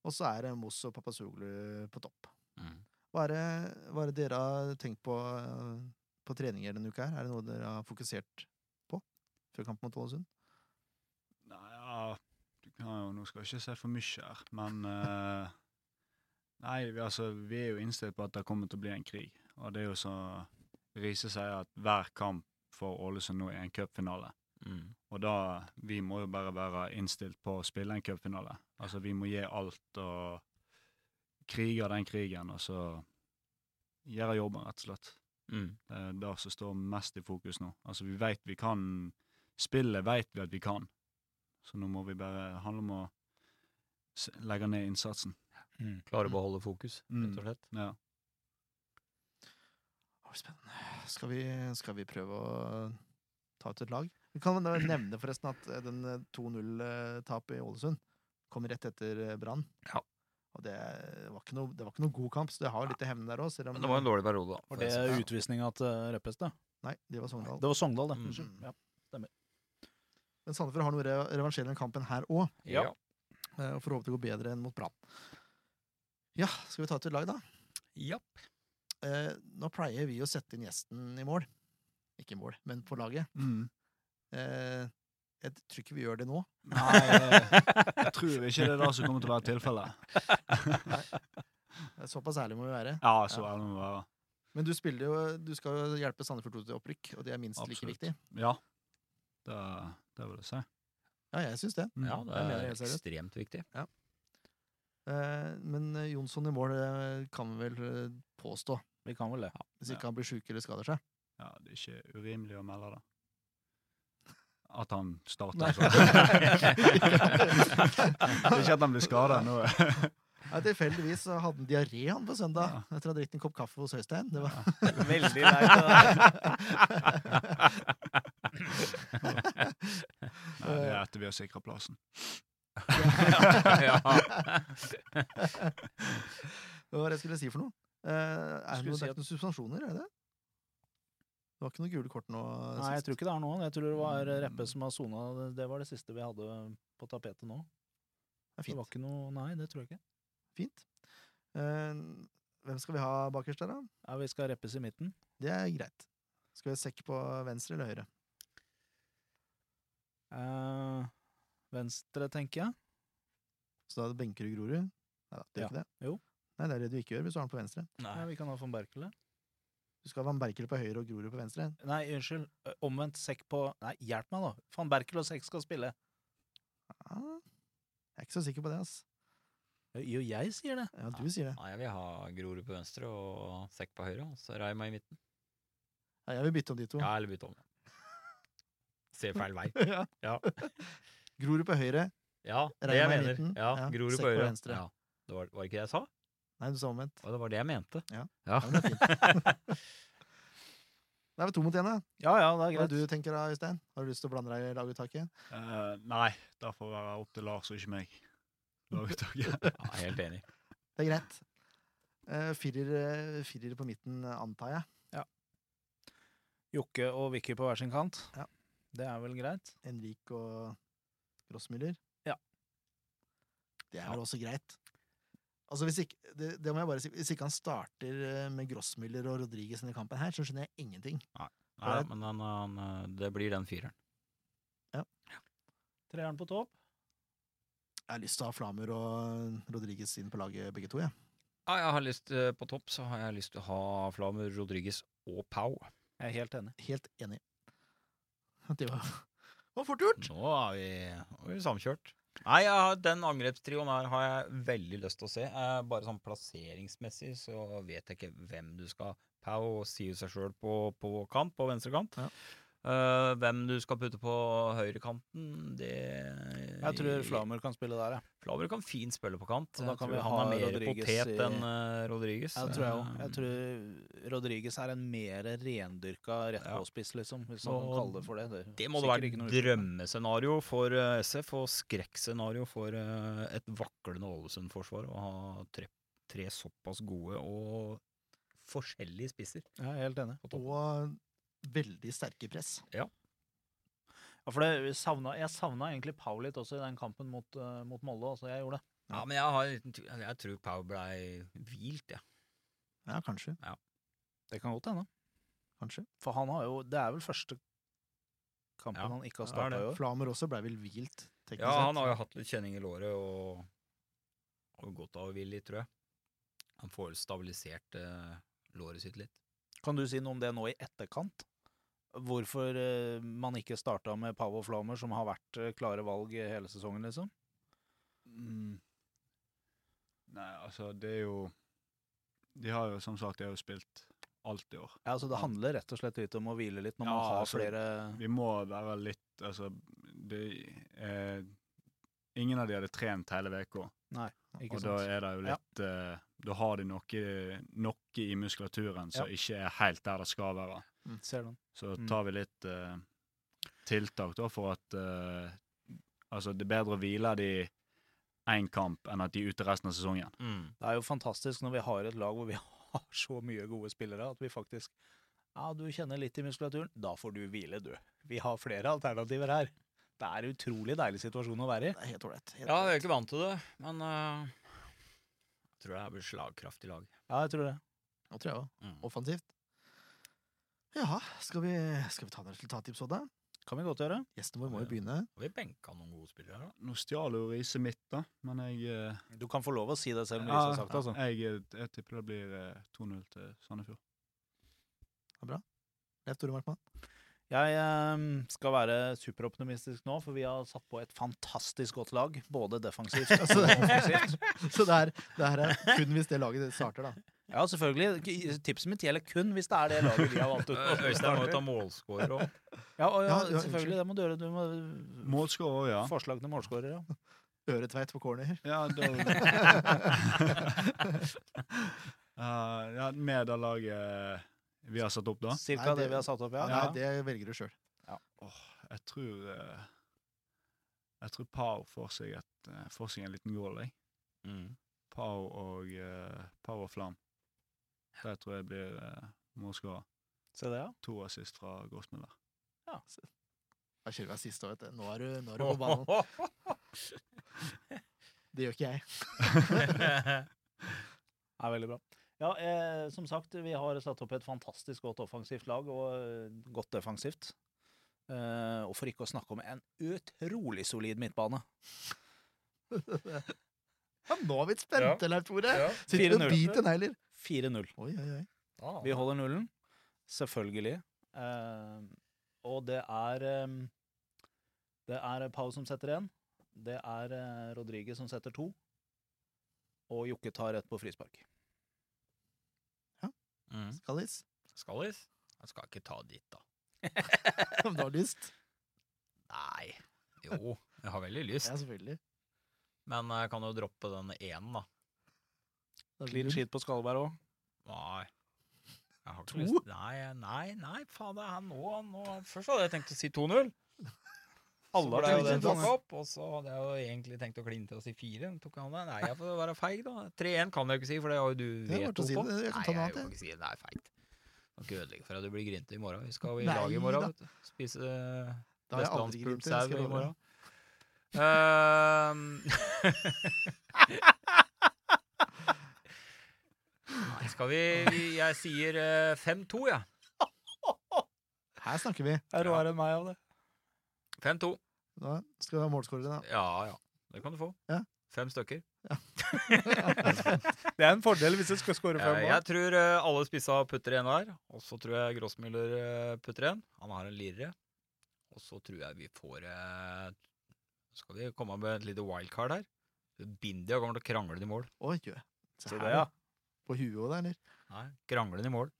[SPEAKER 4] Og så er det Moss og Papasuglu på topp.
[SPEAKER 1] Mm.
[SPEAKER 4] Hva er det, hva er det dere har tenkt på eh, på treninger denne uka? her? Er det noe dere har fokusert på før kampen mot Ålesund?
[SPEAKER 6] Nei, ja, du kan jo, nå skal jeg ikke si for mye her, men eh, Nei, vi, altså, vi er jo innstilt på at det kommer til å bli en krig. Og det er jo så Riise sier at hver kamp for Ålesund nå er en cupfinale.
[SPEAKER 1] Mm.
[SPEAKER 6] Og da, vi må jo bare være innstilt på å spille en cupfinale. Altså, vi må gi alt og krige den krigen, og så gjøre jobben, rett og slett.
[SPEAKER 1] Mm.
[SPEAKER 6] Det er det som står mest i fokus nå. Altså, vi vet vi kan Spillet vet vi at vi kan, så nå må vi bare det handler om å s- legge ned innsatsen.
[SPEAKER 1] Klare å beholde fokus,
[SPEAKER 6] Mm.
[SPEAKER 1] rett og slett.
[SPEAKER 6] Ja.
[SPEAKER 4] Å, Spennende. Skal vi, skal vi prøve å ta ut et lag? Vi kan da nevne forresten at eh, den eh, 2-0-tapet i Ålesund kom rett etter eh, Brann.
[SPEAKER 1] Ja.
[SPEAKER 4] Og det var, ikke noe, det var ikke noe god kamp, så det har jo litt til hevne der òg.
[SPEAKER 1] Men det var en dårlig periode, da.
[SPEAKER 5] Var det utvisninga til Røppes, eh, da?
[SPEAKER 4] Nei, det var Sogndal.
[SPEAKER 5] Det var Sogndal, det.
[SPEAKER 1] Mm.
[SPEAKER 5] Unnskyld. Ja.
[SPEAKER 4] Men Sandefjord har noe re revansjerende kampen her òg,
[SPEAKER 1] Ja.
[SPEAKER 4] og får håpe det går bedre enn mot Brann. Ja, skal vi ta ut et lag, da?
[SPEAKER 1] ja.
[SPEAKER 4] Eh, nå pleier vi å sette inn gjesten i mål. Ikke i mål, men på laget.
[SPEAKER 6] Mm.
[SPEAKER 4] Eh, jeg tror ikke vi gjør det nå.
[SPEAKER 6] Nei, jeg, jeg tror ikke det er det som kommer til å være tilfellet.
[SPEAKER 4] Eh, Såpass ærlig må vi være.
[SPEAKER 6] Ja, så ærlig må vi være.
[SPEAKER 4] Men du, spiller jo, du skal jo hjelpe Sandefjord 2 til opprykk, og det er minst like
[SPEAKER 6] Absolutt.
[SPEAKER 4] viktig.
[SPEAKER 6] Ja, det, det vil jeg si.
[SPEAKER 4] Ja, jeg syns det.
[SPEAKER 6] Mm.
[SPEAKER 1] ja, det
[SPEAKER 4] Jeg mener
[SPEAKER 1] er
[SPEAKER 4] det helt seriøst.
[SPEAKER 1] ekstremt viktig.
[SPEAKER 4] Eh, men eh, Jonsson i mål eh, kan vi vel eh, påstå,
[SPEAKER 5] Vi kan vel det.
[SPEAKER 4] hvis ikke
[SPEAKER 6] Ja.
[SPEAKER 4] han blir sjuk eller skader seg.
[SPEAKER 6] Ja, det er ikke urimelig å melde det. At han starter.
[SPEAKER 4] Nei.
[SPEAKER 6] altså. det er ikke at han blir skada nå.
[SPEAKER 4] Nei, tilfeldigvis så hadde han diaré han på søndag etter å ha drukket en kopp kaffe hos Høystein. Det var
[SPEAKER 5] Veldig leit.
[SPEAKER 6] Nei, det
[SPEAKER 4] Eh,
[SPEAKER 6] er etter vi har sikra plassen.
[SPEAKER 1] ja.
[SPEAKER 4] Hva var det jeg skulle si for noe? Eh, er det,
[SPEAKER 5] Skulle
[SPEAKER 4] noe,
[SPEAKER 5] si
[SPEAKER 4] det er ikke noen suspensjoner, er det? det? Det var ikke noen gule kort nå
[SPEAKER 5] Nei, jeg
[SPEAKER 4] sist. Mm.
[SPEAKER 5] tror ikke det er noen. Jeg tror det var Reppe som har sona. Det- Det var det siste vi hadde på tapetet nå.
[SPEAKER 4] Det er
[SPEAKER 5] Det var
[SPEAKER 4] fint.
[SPEAKER 5] ikke noe Nei, det tror jeg ikke.
[SPEAKER 4] fint. Eh, hvem skal vi ha bakerst der, da?
[SPEAKER 5] Ja, vi skal reppes i midten.
[SPEAKER 4] Det er greit. Skal vi ha sekk på venstre eller høyre?
[SPEAKER 5] Eh, venstre, tenker jeg.
[SPEAKER 4] Så da benker du Grorud? Nei da, det gjør
[SPEAKER 5] Ja.
[SPEAKER 4] ikke det.
[SPEAKER 5] Jo.
[SPEAKER 4] Nei, det er det du ikke gjør hvis du har den på venstre.
[SPEAKER 5] Ja, vi kan ha von Berkele.
[SPEAKER 4] Du skal ha Van Berkel på høyre og Grorud på venstre.
[SPEAKER 5] Nei, unnskyld. Ø, Omvendt sekk på Nei, hjelp meg, da! Van Berkel og sekk skal spille.
[SPEAKER 4] Ja, jeg er ikke så sikker på det, ass.
[SPEAKER 5] Jo, jeg sier det.
[SPEAKER 4] Ja, du sier det.
[SPEAKER 1] Nei, jeg vil ha Grorud på venstre og Sekk på høyre, og så Reima i midten.
[SPEAKER 4] Ja, jeg vil bytte om de to.
[SPEAKER 1] Ja, eller bytte om. Se feil vei.
[SPEAKER 4] Ja.
[SPEAKER 1] Ja.
[SPEAKER 4] Grorud på høyre.
[SPEAKER 1] Ja, det jeg
[SPEAKER 4] Reima i
[SPEAKER 1] mener.
[SPEAKER 4] midten,
[SPEAKER 1] Ja,
[SPEAKER 4] ja,
[SPEAKER 1] Grorud
[SPEAKER 4] Sekk
[SPEAKER 1] på
[SPEAKER 4] på
[SPEAKER 1] høyre.
[SPEAKER 4] venstre.
[SPEAKER 1] Ja. Det var, var det ikke det jeg sa?
[SPEAKER 4] Nei, du sa omvendt.
[SPEAKER 1] Ja, det var det jeg mente.
[SPEAKER 4] Ja.
[SPEAKER 1] ja.
[SPEAKER 4] Ja, men det er fint. Da er vi to mot én, da.
[SPEAKER 5] Ja ja, det
[SPEAKER 4] Hva
[SPEAKER 5] er
[SPEAKER 4] er det
[SPEAKER 5] greit.
[SPEAKER 4] du tenker da, Øystein? Har du lyst til å blande deg i laguttaket?
[SPEAKER 6] Eh, nei, det får være opp til Lars og ikke meg. Laguttaket.
[SPEAKER 1] Ja, helt enig.
[SPEAKER 4] Det er greit. Eh, Firer, eh, firer på midten, eh, antar jeg.
[SPEAKER 5] Jokke og Vicky på hver sin kant.
[SPEAKER 4] Ja.
[SPEAKER 5] Det er vel greit?
[SPEAKER 4] Henrik og Grossmüller.
[SPEAKER 5] Ja.
[SPEAKER 4] Det er vel også greit. Altså hvis ikke, det, det må jeg bare si, hvis ikke han starter eh, med Grossmüller og Rodriguez i denne kampen, her, så skjønner jeg ingenting.
[SPEAKER 1] Nei, da, men han, han, eh, det blir den fireren.
[SPEAKER 5] Treeren på topp.
[SPEAKER 4] Jeg har lyst til å ha Flamer og eh, Rodriguez inn på laget, begge to. Ja.
[SPEAKER 1] Ja, jeg har lyst eh, På topp så har jeg lyst til å ha Flamer, Rodriguez og Pau.
[SPEAKER 5] Jeg er helt enig.
[SPEAKER 4] Helt enig. Det var, det var fort gjort!
[SPEAKER 1] Nå er vi, er vi samkjørt. Nei, jeg har, den angrepstrioen her har jeg veldig lyst til å se. Eh, bare sånn plasseringsmessig så vet jeg ikke hvem du skal Pau sier jo seg sjøl på, på kant, på venstre kant.
[SPEAKER 4] Ja.
[SPEAKER 1] Eh, hvem du skal putte på høyrekanten, det
[SPEAKER 5] Jeg tror Flamer kan spille der, jeg.
[SPEAKER 1] Flaver kan fint spille på kant.
[SPEAKER 5] Og da
[SPEAKER 1] Jeg
[SPEAKER 5] kan
[SPEAKER 1] tror
[SPEAKER 5] vi
[SPEAKER 1] han
[SPEAKER 5] ha
[SPEAKER 1] er mer
[SPEAKER 5] Rodriguez
[SPEAKER 1] potet
[SPEAKER 5] i-
[SPEAKER 1] enn uh, Rodriguez.
[SPEAKER 5] Ja, det tror jeg òg.
[SPEAKER 1] Eh,
[SPEAKER 5] Jeg tror Rodriguez er en mer rendyrka rett
[SPEAKER 1] Ja.
[SPEAKER 5] på spiss, liksom. Hvis man
[SPEAKER 1] Og
[SPEAKER 5] kan kalle det for det. Det, er
[SPEAKER 1] Det må
[SPEAKER 5] sikkert
[SPEAKER 1] det
[SPEAKER 5] ikke
[SPEAKER 1] være
[SPEAKER 5] noe
[SPEAKER 1] et
[SPEAKER 5] utslipp.
[SPEAKER 1] drømmescenario for eh, SF, og skrekkscenario for eh, et vaklende Ålesund-forsvar å ha tre, tre såpass gode og forskjellige spisser.
[SPEAKER 5] Ja, jeg er helt enig.
[SPEAKER 4] Og veldig sterke press.
[SPEAKER 5] Ja, for det, vi savna, jeg savna egentlig Pau litt også i den kampen mot, eh, mot Molde. Altså, jeg gjorde det.
[SPEAKER 1] Ja, men jeg, har, en liten tv- jeg tror Pau blei hvilt, jeg.
[SPEAKER 4] Ja, kanskje.
[SPEAKER 5] Det kan godt hende.
[SPEAKER 4] Kanskje.
[SPEAKER 5] For han har jo Det er vel første kampen
[SPEAKER 1] Ja,
[SPEAKER 5] han ikke har
[SPEAKER 1] det er
[SPEAKER 5] starta
[SPEAKER 1] det.
[SPEAKER 5] i år.
[SPEAKER 4] Flamer også ble vel hvilt, teknisk
[SPEAKER 1] Ja, han har jo hatt litt kjenning i låret og, og godt av å hvile litt, tror jeg. Han får stabilisert eh, låret sitt litt.
[SPEAKER 5] Kan du si noe om det nå i etterkant? Hvorfor eh, man ikke starta med Pau og Flamer, som har vært eh, klare valg hele sesongen, liksom?
[SPEAKER 6] Mm. Nei, altså, det er jo De har jo som sagt de har jo spilt alt i år.
[SPEAKER 5] Ja, altså Det handler rett og slett litt om å hvile litt når man
[SPEAKER 6] Ja,
[SPEAKER 5] har
[SPEAKER 6] altså,
[SPEAKER 5] flere
[SPEAKER 6] Vi må være litt Altså, det er Ingen av de hadde trent hele uka,
[SPEAKER 5] ikke
[SPEAKER 6] og da
[SPEAKER 5] sant?
[SPEAKER 6] er det jo
[SPEAKER 5] Ja.
[SPEAKER 6] litt eh, Da har de noe, noe i muskulaturen som
[SPEAKER 5] Ja.
[SPEAKER 6] ikke er helt der det skal være.
[SPEAKER 5] Ser du den?
[SPEAKER 6] Så
[SPEAKER 5] Mm.
[SPEAKER 6] tar vi litt eh, tiltak da for at eh, Altså, det er bedre å hvile de én kamp enn at de er ute resten av sesongen.
[SPEAKER 1] Mm.
[SPEAKER 5] Det er jo fantastisk når vi har et lag hvor vi har så mye gode spillere at vi faktisk Ja, du kjenner litt i muskulaturen. Da får du hvile, du. Vi har flere alternativer her. Det er en utrolig deilig situasjon å være i.
[SPEAKER 4] Det er helt ålreit. helt
[SPEAKER 1] Ja, jeg er
[SPEAKER 4] ålreit.
[SPEAKER 1] egentlig vant til det, men eh, jeg tror det her blir slagkraftig lag.
[SPEAKER 5] Ja, jeg tror det.
[SPEAKER 4] Nå tror jeg også.
[SPEAKER 1] Mm.
[SPEAKER 4] Offensivt. Ja, skal vi, skal vi ta en resultattips, Odda?
[SPEAKER 5] Kan vi godt gjøre.
[SPEAKER 4] Gjesten vår må jo
[SPEAKER 1] Ja.
[SPEAKER 4] begynne.
[SPEAKER 1] Og vi benka noen gode spillere her, da.
[SPEAKER 6] Nå stjal jo Riise mitt, da, men jeg eh,
[SPEAKER 5] Du kan få lov å si det selv om du
[SPEAKER 6] Ja,
[SPEAKER 5] ikke har sagt det. altså.
[SPEAKER 6] Jeg, jeg tipper det blir eh, 2-0 til Sandefjord.
[SPEAKER 4] Leif Tore Markmann.
[SPEAKER 5] Jeg eh, skal være superoptimistisk nå, for vi har satt på et fantastisk godt lag. Både defensivt og offensivt.
[SPEAKER 4] Så det her, det her Altså, er eh, kun hvis det laget starter, da.
[SPEAKER 5] Ja, selvfølgelig. K- Tipset mitt gjelder kun hvis det er det laget vi har valgt ut.
[SPEAKER 1] Eh, Øystein må jo ta målscorer òg.
[SPEAKER 5] Ja, og, ja,
[SPEAKER 4] Ja, ja,
[SPEAKER 5] selvfølgelig. Det må du gjøre. Du må,
[SPEAKER 6] Målskårer òg, ja.
[SPEAKER 5] Forslag til målskårer, ja.
[SPEAKER 4] Øretveit på corner.
[SPEAKER 6] Ja, da... Eh, ja, med det laget eh, vi har satt opp, da.
[SPEAKER 5] Cirka
[SPEAKER 4] Nei,
[SPEAKER 5] det,
[SPEAKER 4] det-
[SPEAKER 5] vi har satt opp, ja.
[SPEAKER 4] Nei,
[SPEAKER 5] ja.
[SPEAKER 4] det velger du sjøl.
[SPEAKER 6] Jeg tror eh, Jeg tror Pau får seg, et, eh, får seg en liten goal, jeg.
[SPEAKER 1] Mm.
[SPEAKER 6] Pau og eh, Pau og Flam. Det tror jeg blir uh, målskårer.
[SPEAKER 5] Se det, ja.
[SPEAKER 6] To assist fra Gåsmiller.
[SPEAKER 4] Da kjører vi deg sist òg, vet du. Nå er du, nå er du på ballen. Det gjør ikke jeg.
[SPEAKER 5] er veldig bra. Ja, eh, som sagt, vi har satt opp et fantastisk godt offensivt lag, og eh, godt defensivt. Eh, og for ikke å snakke om en utrolig solid midtbane.
[SPEAKER 4] Ja, nå er vi spente, Leif Tore!
[SPEAKER 1] Ja.
[SPEAKER 4] Sitter du og
[SPEAKER 5] 4-0.
[SPEAKER 4] biter negler?
[SPEAKER 5] 4-0.
[SPEAKER 4] Oi, oi, oi.
[SPEAKER 5] Vi holder nullen, selvfølgelig. Eh, og det er eh, Det er Pau som setter én. Det er eh, Rodriguez som setter to. Og Jokke tar rett på frispark.
[SPEAKER 1] Mm.
[SPEAKER 4] Skallis.
[SPEAKER 1] Skallis? Jeg skal ikke ta dit, da.
[SPEAKER 4] Om du har lyst.
[SPEAKER 1] Nei. Jo, jeg har veldig lyst.
[SPEAKER 4] Ja, selvfølgelig.
[SPEAKER 1] Men eh, jeg kan jo droppe den enen, da.
[SPEAKER 4] Da blir
[SPEAKER 5] Clean
[SPEAKER 4] du-
[SPEAKER 5] sheet på Skalberg òg.
[SPEAKER 1] Nei. Jeg har ikke lyst. Nei, nei, nei, faen, det er han nå, han nå. Først hadde jeg tenkt å si 2-0.
[SPEAKER 5] Alle
[SPEAKER 1] Så ble
[SPEAKER 5] har
[SPEAKER 1] jo
[SPEAKER 5] tenkt
[SPEAKER 1] det
[SPEAKER 5] å si
[SPEAKER 1] tatt
[SPEAKER 5] 2-0.
[SPEAKER 1] opp, og så hadde jeg jo egentlig tenkt å kline til å si 4. men Tok han det? Nei, jeg får være feig, da. 3-1 kan jeg jo ikke si, for det har jo du
[SPEAKER 4] Jeg
[SPEAKER 1] veto
[SPEAKER 4] valgte å si
[SPEAKER 1] på.
[SPEAKER 4] det. Jeg kan
[SPEAKER 1] Nei,
[SPEAKER 4] ta noe
[SPEAKER 1] jeg
[SPEAKER 4] annet,
[SPEAKER 1] kan ikke si det. Det er feigt. Kan ikke ødelegge for deg. Du blir grinte i morgen. Vi skal i
[SPEAKER 4] Nei
[SPEAKER 1] lag i morgen.
[SPEAKER 4] da.
[SPEAKER 1] vet du. Spise eh,
[SPEAKER 4] Da har jeg aldri
[SPEAKER 1] vestlandspult
[SPEAKER 4] gripet det, skal
[SPEAKER 1] sau
[SPEAKER 4] jeg
[SPEAKER 1] i
[SPEAKER 4] love deg.
[SPEAKER 1] morgen. Ehm. Nei, skal vi, vi Jeg sier eh, 5-2, jeg.
[SPEAKER 4] Her snakker vi.
[SPEAKER 5] Er råere enn meg av det.
[SPEAKER 1] 5-2.
[SPEAKER 4] Da skal vi ha målskårere, da.
[SPEAKER 1] Ja ja, det kan du få.
[SPEAKER 4] Ja.
[SPEAKER 1] Fem stykker.
[SPEAKER 5] Det er en fordel hvis du skal skåre
[SPEAKER 1] Eh,
[SPEAKER 5] fem mål.
[SPEAKER 1] jeg tror eh, alle spissa putter en hver. Og så tror jeg Grossmüller eh, putter en. Han har en lirre. Og så tror jeg vi får eh, Skal vi komme med et lite wildcard her? Bindia kommer til å krangle den i mål.
[SPEAKER 4] Oi, jø. Se
[SPEAKER 5] Så
[SPEAKER 4] her,
[SPEAKER 5] det, ja.
[SPEAKER 4] da. På huet òg, da, eller?
[SPEAKER 1] Nei, krangle den i mål.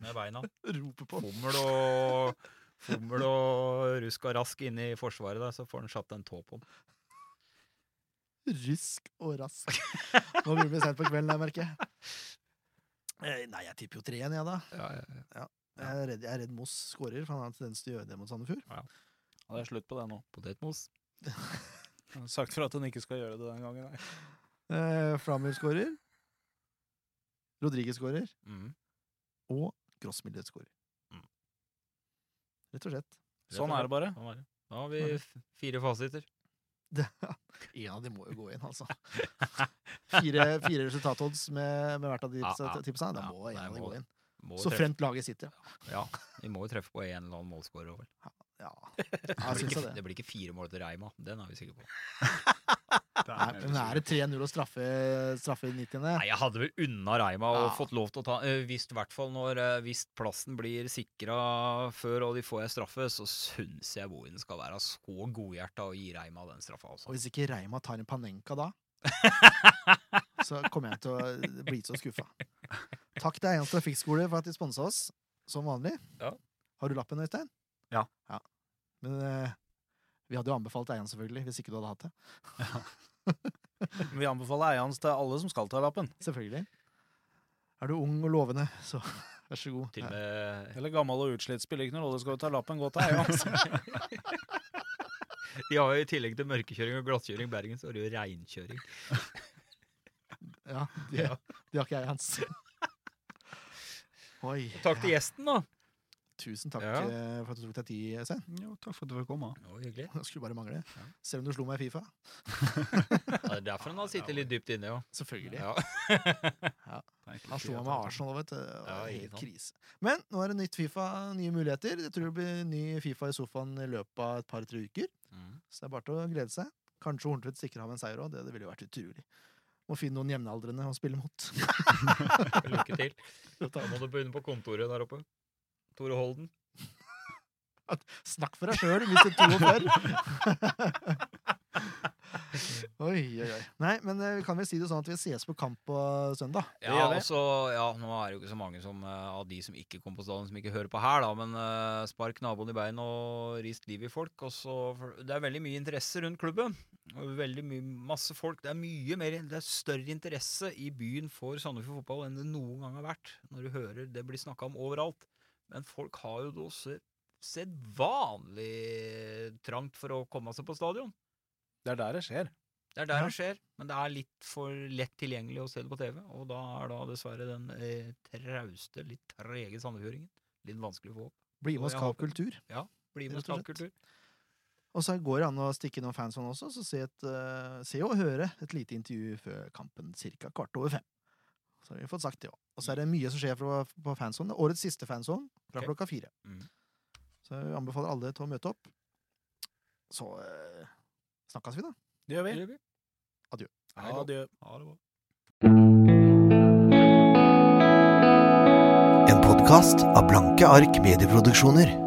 [SPEAKER 1] Med beina.
[SPEAKER 4] Roper på.
[SPEAKER 1] Bommel og Bommel og rusk og rask inn i forsvaret der, så får han satt en tå på den.
[SPEAKER 4] Rusk og rask. Nå blir det sent på kvelden, jeg merker jeg. Eh, Nei, jeg tipper jo 3-1, jeg, da. Jeg er redd, jeg er redd Moss skårer, for han har en tendens til å gjøre det mot Sandefjord.
[SPEAKER 5] Ja, det er slutt på det nå.
[SPEAKER 1] Potetmos.
[SPEAKER 5] Jeg har sagt for at hun ikke skal gjøre det den gangen. nei.
[SPEAKER 4] Eh, Flamur skårer. Rodriguez skårer.
[SPEAKER 1] Mm.
[SPEAKER 4] Og Grossmillet skårer.
[SPEAKER 1] Mm.
[SPEAKER 4] Rett og slett.
[SPEAKER 5] Sånn er det bare.
[SPEAKER 1] Sånn er det. Da har vi f- fire fasiter.
[SPEAKER 4] En av de må jo gå inn, altså. Fire, fire resultatodds med, med hvert av de
[SPEAKER 1] Ja,
[SPEAKER 4] tipsa.
[SPEAKER 1] ja.
[SPEAKER 4] tipsa. Da
[SPEAKER 1] Ja,
[SPEAKER 4] må en
[SPEAKER 1] nei,
[SPEAKER 4] av de
[SPEAKER 1] må
[SPEAKER 4] gå inn.
[SPEAKER 1] Må
[SPEAKER 4] Så
[SPEAKER 1] treffe-
[SPEAKER 4] fremt laget sitter,
[SPEAKER 1] Ja, vi må jo treffe på en eller annen målskårer. vel.
[SPEAKER 4] ja. ja jeg
[SPEAKER 1] Det, blir
[SPEAKER 4] syns
[SPEAKER 1] ikke-
[SPEAKER 4] jo det.
[SPEAKER 1] det blir ikke fire mål til Reima, den er vi sikre på.
[SPEAKER 4] Nei, men er det 3-0 og straffe, straffe i 90.
[SPEAKER 1] Nei, jeg hadde vel unna Reima og
[SPEAKER 4] Ja.
[SPEAKER 1] fått lov til å ta eh, Hvis i hvert fall når eh, hvis plassen blir sikra før og de får en straffe, så syns jeg Bohin skal være så godhjerta og gi Reima den straffa.
[SPEAKER 4] Og
[SPEAKER 1] Altså.
[SPEAKER 4] hvis ikke Reima tar en Panenka da, så kommer jeg til å bli så skuffa. Takk til Eians Trafikkskole for at de sponsa oss, som vanlig.
[SPEAKER 1] Ja.
[SPEAKER 4] Har du lappen, Øystein?
[SPEAKER 6] Ja.
[SPEAKER 4] Men eh, vi hadde jo anbefalt Eian, selvfølgelig, hvis ikke du hadde hatt det.
[SPEAKER 5] Vi anbefaler eieren til alle som skal ta lappen.
[SPEAKER 4] Selvfølgelig. Er du ung og lovende, så vær så god.
[SPEAKER 1] Til og
[SPEAKER 4] Ja.
[SPEAKER 1] med
[SPEAKER 5] Eller gammel og utslitt, spiller ikke noen rolle, skal du ta lappen, gå til eieren.
[SPEAKER 1] De har jo i tillegg til mørkekjøring og glattkjøring i Bergen, så har de jo reinkjøring.
[SPEAKER 4] Ja, de,
[SPEAKER 1] Ja.
[SPEAKER 4] de har ikke Eians. Oi.
[SPEAKER 1] Takk til
[SPEAKER 4] ja.
[SPEAKER 1] gjesten, da.
[SPEAKER 4] Tusen takk
[SPEAKER 1] Ja.
[SPEAKER 4] eh, for at du tok deg tid, Øystein.
[SPEAKER 6] Jo, takk for at du fikk komme.
[SPEAKER 1] Det var hyggelig.
[SPEAKER 4] Det skulle bare mangle. Selv om du slo meg i Fifa.
[SPEAKER 1] Ja, det er derfor han har sittet litt dypt inne, jo.
[SPEAKER 4] Selvfølgelig.
[SPEAKER 1] Ja.
[SPEAKER 4] Han slo meg med Arsenal, vet du. Det var
[SPEAKER 1] Ja,
[SPEAKER 4] helt
[SPEAKER 1] ikke sant.
[SPEAKER 4] krise. Men nå er det nytt Fifa, nye muligheter. Jeg tror det blir ny Fifa i sofaen i løpet av et par-tre uker.
[SPEAKER 1] Mm.
[SPEAKER 4] Så det er bare til å glede seg. Kanskje Horntvedt stikker av en seier òg. Det, det ville jo vært utrolig. Må finne noen jevnaldrende å spille mot.
[SPEAKER 1] Lykke til. Da må du begynne på kontoret der oppe. Tore Holden.
[SPEAKER 4] Snakk for deg sjøl, hvis du tror før. oi, oi, oi. Nei, men eh, vi kan vel si det sånn at vi ses på kamp på søndag.
[SPEAKER 1] Ja, altså, ja, nå er det jo ikke så mange som, eh, av de som ikke kom på stadion, som ikke hører på her, da, men eh, spark naboen i bein og rist liv i folk. Og så, for det er veldig mye interesse rundt klubben. og Veldig mye, masse folk. Det er mye mer, det er større interesse i byen for Sandefjord fotball enn det noen gang har vært. Når du hører det blir snakka om overalt. Men folk har jo da også sett vanlig trangt for å komme seg på stadion.
[SPEAKER 5] Det er der det skjer.
[SPEAKER 1] Det er der det skjer, men det er litt for lett tilgjengelig å se det på TV. Og da er da dessverre den eh, trauste, litt trege sandefjordingen litt vanskelig å få opp.
[SPEAKER 4] Bli med
[SPEAKER 1] Og
[SPEAKER 4] oss
[SPEAKER 1] jeg
[SPEAKER 4] Kav
[SPEAKER 1] håper-
[SPEAKER 4] kultur.
[SPEAKER 1] Bli
[SPEAKER 4] Rett
[SPEAKER 1] med
[SPEAKER 4] og slett.
[SPEAKER 1] Stavkultur.
[SPEAKER 4] Og så går det an å stikke innom fansonen også, så se, et, eh, se og høre et lite intervju før kampen ca. kvart over fem. Så har vi fått sagt det òg. Og så er det mye som skjer fra, på fansonen. Det er Årets siste fanson fra
[SPEAKER 1] Ok.
[SPEAKER 4] klokka fire.
[SPEAKER 1] Mhm.
[SPEAKER 4] Så jeg anbefaler alle til å møte opp. Så eh, snakkes vi, da.
[SPEAKER 5] Det gjør vi.
[SPEAKER 1] Det gjør vi.
[SPEAKER 4] Adjø.
[SPEAKER 5] Adjø.
[SPEAKER 6] Ha det bra.
[SPEAKER 8] En podkast av Blanke ark medieproduksjoner.